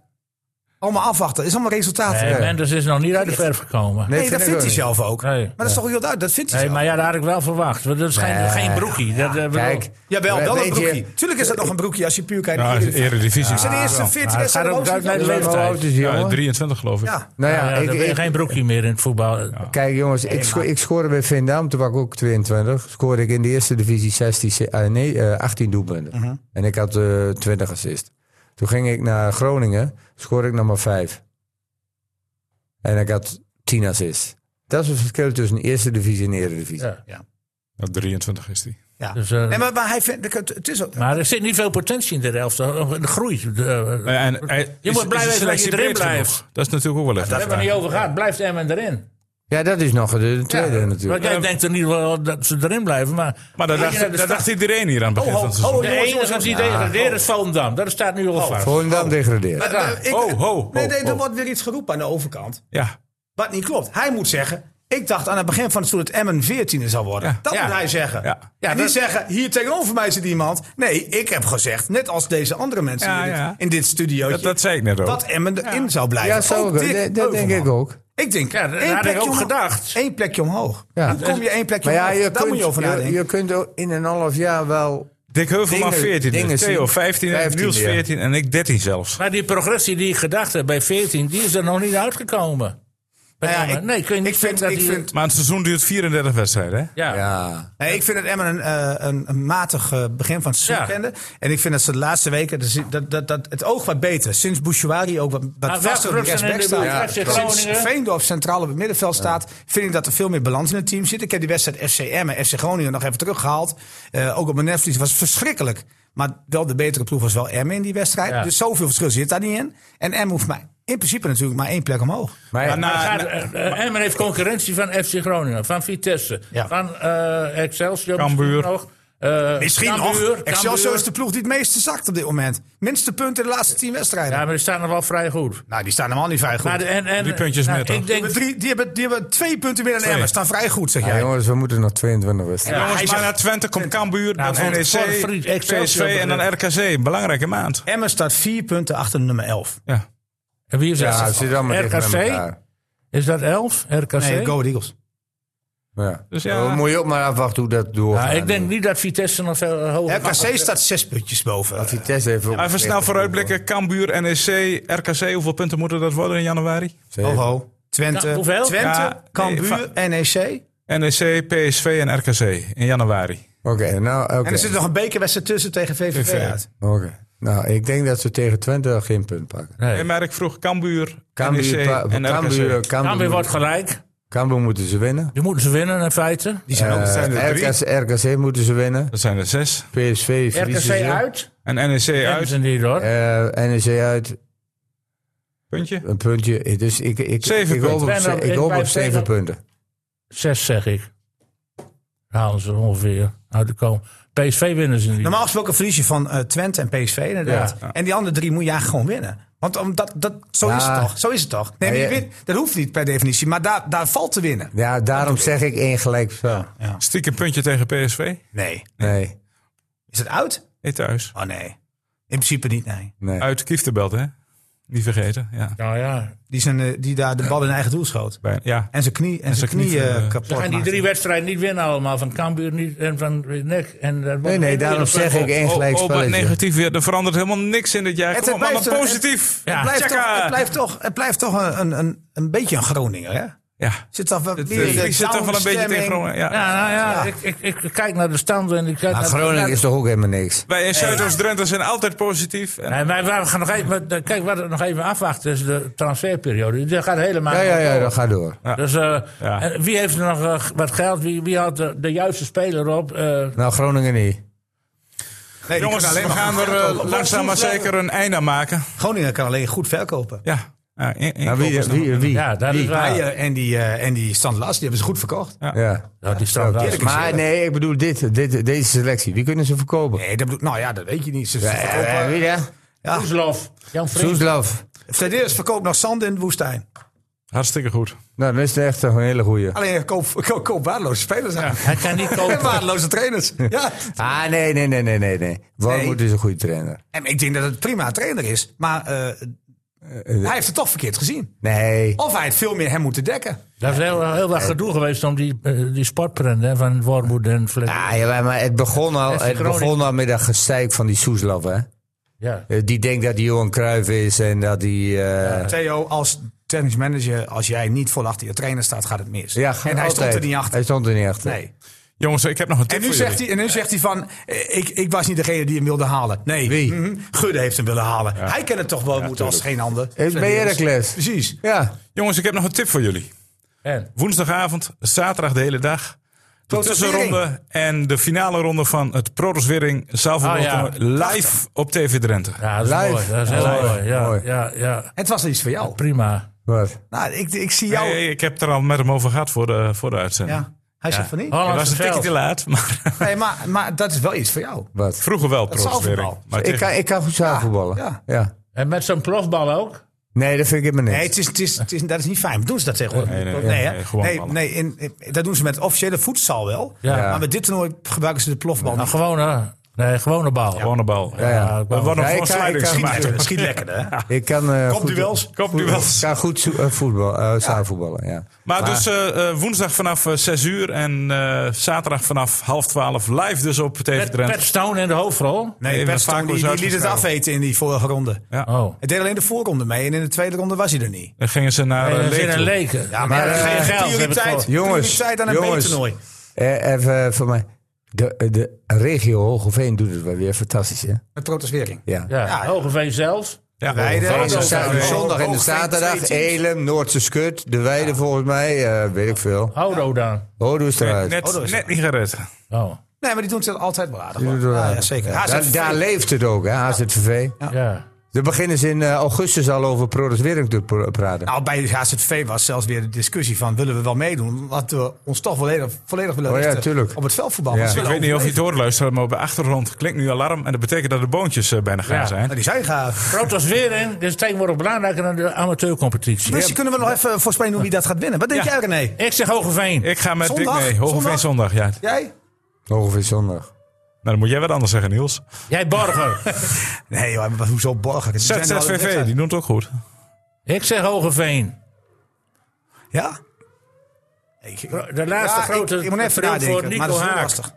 allemaal afwachten, is allemaal resultaat. Nee, Mendes is nog niet uit de verf gekomen. Nee, vind dat ik vindt ook hij niet. zelf ook. Nee. maar dat is toch heel duidelijk, dat vindt hij Nee, zelf. maar ja, dat had ik wel verwacht. want Dat is geen, Nee. geen broekie. Dat, eh, bedoel- Kijk, Jawel, We- wel een weet je- broekje. Tuurlijk is dat nog een broekje als je puur kijkt naar Nou, Ja, de Eredivisie. Eredivisie. Zijn eerste 14 Maar het gaat wedstrijden ook boven duidelijk zich. naar de Hoe leeftijd. oud is die Ja, jongen? 23 geloof ik. Ja. Nou ja, ja, ik, dan ben je ik- geen broekie meer in het voetbal. kijk jongens, ik, sco- ik scoorde bij Vindam, toen was ik ook 22. Scoorde ik in de eerste divisie 16, se- eh, nee, eh, 18 doelpunten. En ik had eh 20 assist. Toen ging ik naar Groningen, scoorde ik nog maar 5. En ik had 10 assist. Dat is het verschil tussen eerste divisie en eredivisie. Ja. Ja, 23 is die. Ja. Dus, eh, nee, maar, maar hij vindt, het is ook, Maar er zit niet veel potentie in de helft. De groei. De, eh, Ja, En, hij- is- moet is blij de wezen dat je selectie erin breed genoeg? blijft. Dat is natuurlijk ook wel even. daar de hebben we niet vraag. over gehad. Blijft Emmen erin? Ja, dat is nog eh, de, de tweede Want natuurlijk. jij Eh, denkt in ieder geval dat ze erin blijven. Maar, Maar dat Kijk je naar dacht, de dat sta- dacht iedereen hier aan het begin ho, van het ho, seizoen. de enige die degraderen is Volendam. Dat staat nu al vast. Volendam degradeert. Oh, Eh, ik- Oh, Ho, ho, ho, nee, nee, ho. er wordt weer iets geroepen aan de overkant. Ja. Wat niet klopt. Hij moet zeggen. Ik dacht aan het begin van het seizoen dat Emmen 14 zou worden. Ja. Dat Ja. moet hij zeggen. Ja. en niet zeggen, hier tegenover mij zit iemand. Nee, ik heb gezegd, net als deze andere mensen Ja, in, dit, ja. in dit studio, Dat, dat zei ik net ook. dat Emmen erin zou blijven. Ja, zo, Ook dat- Dick dat dat denk Heuvelman. ik ook. Ik denk, Ja, dat had ik ook omho- gedacht. één plekje omhoog. Ja. Dan kom je één plekje Maar ja, omhoog. je Daar moet kunt, je over je, nadenken. je kunt ook in een half jaar wel Dick Heuvelman Dingen- 14, dingen Theo zien. 15, 15, Niels ja. 14 en ik 13 zelfs. Maar die progressie die ik gedacht heb bij 14, die is er nog niet uitgekomen. Bij Nou ja, Emmen. ik- nee, kun je niet ik vind, zeggen ik dat die- vind Maar het seizoen duurt 34 wedstrijden, hè? ja. Ja. Nee, ik vind dat Emmen een, eh, een, een matig eh, begin van het seizoen Ja. kende. En ik vind dat ze de laatste weken, dat, ze- dat, dat, dat- het oog wat beter. Sinds Bouchouari ook wat, wat Maar vaster op de welke clubs zijn rechtsback in Nou, de staat. buurt? FC Sinds Groningen? Veendorp centraal op het middenveld staat, vind ik dat er veel meer balans in het team zit. Ik heb die wedstrijd FC Emmen, FC Groningen nog even teruggehaald. Eh, ook op mijn Netflix was het verschrikkelijk. Maar wel de betere ploeg was wel Emmen in die wedstrijd. Ja. Dus zoveel verschil zit daar niet in. En Emmen hoeft maar, in principe natuurlijk maar één plek omhoog. Maar, Maar na- Maar het gaat, eh, eh, Emmen heeft concurrentie van FC Groningen, van Vitesse, Ja. van eh, Excelsior. Cambuur. misschien nog. Eh, Misschien Cambuur, nog. Excelsior Cambuur. is de ploeg die het meeste zakt op dit moment. Minste punten in de laatste tien wedstrijden. Ja, maar die staan er wel vrij goed. Nou, die staan helemaal niet vrij goed. Maar de- en, en, Drie puntjes nou, net, hoor. Ik denk, Die hebben drie- die, hebben, die hebben twee punten meer dan Twee. Emmen. Staan vrij goed, zeg ja, jij. jongens, we moeten nog 22 wedstrijden. Jongens, hij maar zegt- naar Twente komt Cambuur, Nou, dan E voor- NEC, voor Fried, Excelsior PSV en dan RKC. Belangrijke maand. Emmen staat vier punten achter nummer 11. Ja. en wie is Ja, dat? het zit allemaal dicht met RKC? elkaar. Is dat 11? RKC? Nee, Go Ahead Eagles. Ja. Dus ja. Dan moet je ook maar afwachten hoe dat doorgaat. Ja, ik denk niet dat Vitesse nog veel eh, hoger RKC staat zes puntjes boven. Vitesse heeft ook Even snel vooruitblikken. Cambuur, E NEC, RKC. Hoeveel punten moeten dat worden in januari? Ho, Zeven. ho. Twente, Ja, hoeveel? Twente Ja, nee, Cambuur, E NEC. NEC, PSV en RKC in januari. Oké, nou, En oké. er zit nog een bekerwedstrijd tussen tegen VVV VVV. uit. Oké. nou, ik denk dat ze tegen Twente wel geen punt pakken. Nee. En maar ik vroeg Cambuur, Cambuur, NEC pa- en RKC. Cambuur, Cambuur wordt Cambuur, gelijk. Cambuur moeten ze winnen. Die moeten ze winnen in feite. Die zijn ook Eh, zijn er drie. RKC, RKC moeten ze winnen. Dat zijn er zes. PSV verliezen RKC ze. uit. En NEC Kennen uit. ze niet hoor. Eh, NEC uit, Puntje. een puntje. Dus ik, ik, Zeven ik hoop op, punten. ze- ik hoop op Blijf zeven tegen. punten. Zes zeg ik. Halen ze ongeveer uit de kom. PSV winnen ze niet. Normaal gesproken verlies je van eh, Twente en PSV inderdaad. En die andere drie moet je eigenlijk gewoon winnen. Want omdat, dat, zo, is het Ja. toch, zo is het toch. Nee, maar Ja, je ja. wint, dat hoeft niet per definitie. Maar daar, daar valt te winnen. Ja, daarom zeg ik één gelijk spel. Stiekem puntje tegen PSV. Nee. Nee, Is het uit? Nee, thuis. Oh nee. In principe niet, nee. nee. Uit Kieftebelt, hè? Niet vergeten. Ja. Nou ja, Die, zijn, eh, die daar de bal in eigen doel schoot. Bijna. ja. En zijn knie, en zijn zijn knie, knie, eh, eh, kapot. ze gaan die maakte. drie wedstrijden niet winnen allemaal. Van Cambuur niet en van Nek. En daar wordt Nee, nee, geen daarom winnen zeg ik plek op. één Oh, gelijk oh, maar spelletje. negatief weer. Er verandert helemaal niks in dit jaar. Het- Kom op, het maar blijft- positief. het, blijft Tjaka. toch, het, blijft toch, het blijft toch een, een, een, een beetje een Groninger, hè? Ja. Zit toch wel Het, weer eh, de die zit toch wel een beetje downstemming. tegen Groningen. Ja. Ja, nou ja, Ik, ik, ik kijk naar de standen en ik kijk Maar naar... Nou, Groningen is toch ook helemaal niks? Wij in Zuidoost-Drenthe zijn altijd positief. En Nee, maar we gaan nog even, maar, kijk, wat we nog even afwachten is de transferperiode. Die gaat helemaal... Ja, ja, ja, dat gaat door. Dus eh, Ja. en wie heeft er nog eh, wat geld? Wie, wie had de, de juiste speler op? Eh, Nou, Groningen niet. Nee, die Jongens, kan alleen we maar gaan goed er eh, verkopen. langzaam maar zeker een einde aan maken. Groningen kan alleen goed verkopen. Ja. Ja, in- in- Nou, wie, kopers nog- wie, wie? Ja, dat is waar. Meijer en die, eh, en die Stan Las, die hebben ze goed verkocht. Ja. Nou, die staat daar. Maar nee, ik bedoel dit, dit, deze selectie. Wie kunnen ze verkopen? Nee, dat bedoel, nou ja, dat weet je niet. Ze verkopen, Eh, wie dan? ja. Soeslof. Jan Vriend. Soeslof. Fladeers verkoopt nog zand in de woestijn. Hartstikke goed. Nou, dat is echt een hele goeie. Alleen koop, koop, koop waardeloze spelers aan. Hij kan niet En kopen. waardeloze trainers. Ja. Ah, nee, nee, nee, nee, nee. nee. Wormoed is een goede trainer. En ik denk dat het een prima trainer is. Maar eh, hij heeft het toch verkeerd gezien. Nee. Of hij had veel meer hem moeten dekken. Dat is heel, heel wat gedoe geweest om die, eh, die sportprint hè, van Wormoed en Flet. Ja, Ah, jawel, maar het begon al, FC het Groningen. begon al met dat gezeik van die Soeslof, hè. Ja. Eh, Die denkt dat hij Johan Cruijff is en dat hij... eh, Theo, als technisch manager, als jij niet vol achter je trainer staat, gaat het mis. ja, en hij stond altijd. er niet achter. Hij stond er niet achter. Nee. Jongens, ik heb nog een tip En nu, voor zegt jullie. hij, en nu zegt hij van, eh, ik, ik was niet degene die hem wilde halen. Nee, Wie? mhm, Gudde heeft hem willen halen. Hij kent het toch wel moeten als geen ander. Het is bij Heracles. Precies. Ja. Jongens, ik heb nog een tip voor jullie. En? Woensdagavond, zaterdag de hele dag. De Protos Wering. tussenronde en de finale ronde van het Protos Wering Salvador Ah, ja. Toernooi live op TV Drenthe. Ja, dat is Live. mooi. Dat is heel Live. mooi. Ja, Mooi. Ja, ja. Het was iets voor jou. Prima. Wat? Nou, ik, ik zie jou. Nee, ik heb het er al met hem over gehad voor de, voor de uitzending. Ja. Hij zegt van niet. Het Hollandse was een tikje veld. te laat, maar Nee, maar, maar dat is wel iets voor jou. Wat? vroeger wel Protos Wering. zaalvoetbal. Maar Ik kan, tegen- ik kan goed zaalvoetballen. Ja. Ja. En met zo'n plofbal ook. Nee, dat vind ik helemaal Nee, niks. het is, het is, het is, dat is niet fijn. Doen ze dat tegenwoordig? Nee, nee, nee, hè? nee, gewoon nee, ballen. nee, in, in- dat doen ze met officiële voetbal wel. Ja. Nou, Maar met dit toernooi gebruiken ze de plofbal. Een niet. gewone, nee, gewone bal. Gewone bal. Ja, ja. We worden Ja, ik gewoon kan- slidings ik kan- Schiet gemaakt. lekkerder, Schiet lekkerder, hè? Ik kan... eh goed- Kopduels. Kopduels. Ik kan goed zo- eh, voetbal, eh, zaalvoetballen, ja. Maar dus eh, eh, woensdag vanaf eh, 6 uur en eh, zaterdag vanaf half 12 live dus op TV Met Pat Drenthe. Stone in de hoofdrol. Nee, Even Weston, vaak die, eens die liet het uitgeschreven. afeten in die vorige ronde. Ja. Oh. Hij deed alleen de voorronde mee en in de tweede ronde was hij er niet. Dan gingen ze naar Nee, eh, dat is in Leek toe. een leken. Ja, maar eh, geen geld, heb ik prioriteit, gehoord. Jongens, prioriteit aan een jongens. B-toernooi. Eh, even voor mij. De, eh, de regio Hogeveen doet het wel weer fantastisch, hè? Met protestwering. Ja. Ja, Ja. Hogeveen zelf. Ja, Weiden. Van- Weiden. Zondag- Hogeveen. zondag en de Hogeveen, twee zaterdag. teams. Elem, Noordse Skut, De Weide volgens mij, eh, weet ik veel. Hodo dan. Hodo is eruit. Net, dat is- net niet gered. Oh. Nee, maar die doen het altijd wel aardig. Die hoor. doet het wel Ah, ja, aardig. zeker. Ja, daar, HZV. daar leeft het ook, hè, HZVV. Ja. De beginnen ze in eh, augustus al over Prodes Wering te pr- praten. nou, bij HZV was zelfs weer de discussie van... willen we wel meedoen? Want we ons toch volledig, volledig willen Oh ja, richten tuurlijk. op het veldvoetbal. Ja. Want ze Ik willen weet niet of je het overleven. doorluistert, maar op de achtergrond klinkt nu alarm. En dat betekent dat de boontjes eh, bijna gaan Ja. zijn. Nou, die zijn gaaf. Protos weer in. Dus tegenwoordig belangrijker dan de amateurcompetitie. Dus kunnen we nog even voorspellen hoe wie dat gaat winnen. Wat denk Ja. jij, René? Ik zeg Hogeveen. Ik ga met Zondag? Dick mee. Hogeveen zondag. ja. Nou, Jij? Ongeveer zondag. dan moet jij wat anders zeggen, Niels. Jij Borger. Nee, joh, maar hoezo borgen? Die zijn er wel- ZZVV, die doet het ook goed. ik zeg Hogeveen. Ja? Ik- De laatste Ja, grote ik, ik moet even triomf nadenken, voor maar dat Nico is heel Haak. lastig.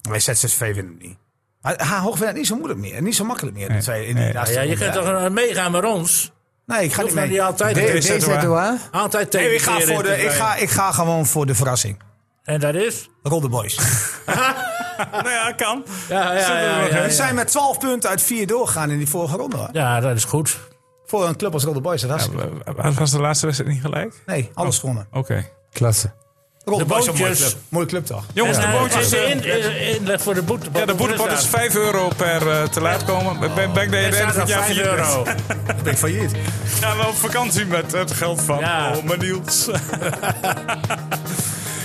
Wij ZZV winnen het niet. Maar Ha- Hoogveen is niet zo moeilijk meer. Niet zo makkelijk meer. in twee, in die laatste Ja, je ronde. kunt toch eh, meegaan met ons? Nee, ik ga Hoeft niet men mee. niet altijd Nee. tegen. DZOA? Altijd tegen. Nee, ik ga, tegen voor de, te ik, zijn. ga, ik ga gewoon voor de verrassing. En dat is? Rodde Boys. nou ja, kan. Ja, ja, ja, ja, ja. Die zijn met 12 punten uit 4 doorgegaan in die vorige ronde. hoor. Ja, dat is goed. Voor een club als Rodde Boys. Dat was, Was- Was de laatste wedstrijd niet gelijk? nee, alles gewonnen. Oké. Klasse. Rodde De Boys is een mooie boontjes. club. Mooie club toch? Jongens, En, de eh, boontjes... is de eh, in- in- inleg voor de boete. Ja, de boetepot is 5 euro per eh, te laat komen. Ben- Ben ben ik de Er hele staat van nog het jaar 5 failliet? euro. Ik ben failliet. Gaan we op vakantie met het geld van Ja. oh, mijn Niels. eh,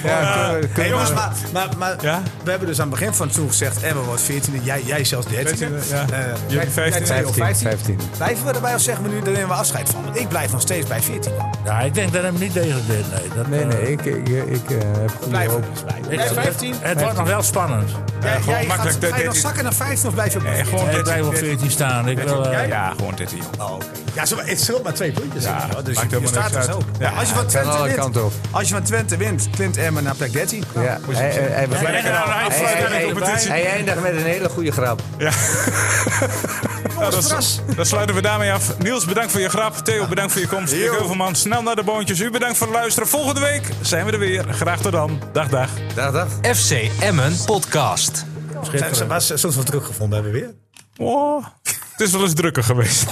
Ja, kun- kun- Hey, jongens, maar, maar, maar Ja? we hebben dus aan het begin van het seizoen gezegd... Emma wordt 14 jij, jij zelfs Eh, 13 13e, ja. Jullie 15e. 15. 15. Blijven we erbij of zeggen we nu, daar nemen we afscheid van? Want ik blijf nog steeds bij 14. Ja, ik denk dat hem niet deze deed. Nee, dat, Nee, eh, nee, ik, ik, ik eh, heb goede Blijven hoop. we dus bij. ik- Bij 15? Het wordt nog wel spannend. Jij, gewoon jij gaat, makkelijk ga je nog 13. zakken naar 15 of blijf je op Nee, 14? gewoon Nee, ik blijf op 13. 14 staan. Ik wil, eh, Ja, gewoon 13, joh. Oh, oké. Ja, zo- het scheelt maar twee puntjes. Ja, Ja, dus maakt je, je helemaal staat er niks zo. uit. Ja, Ja, als, je van kan Twente alle wint, kanten op. als je van Twente wint, klimt Emma naar plek Nou, 13. Ja, hij- hij- hij begint- lekker nou, hij hij- fluit hij- aan de hij- competitie. Hij eindigt met een hele goede grap. Nou, dat, verras. dat sluiten we daarmee af. Niels, bedankt voor je grap. Theo, bedankt voor je komst. Dick Heuvelman, snel naar de boontjes. U bedankt voor het luisteren. Volgende week zijn we er weer. Graag tot dan. Dag, dag. Dag, dag. FC Emmen podcast. Zijn ze was soms wel teruggevonden hebben we weer? Oh, het is wel eens drukker geweest.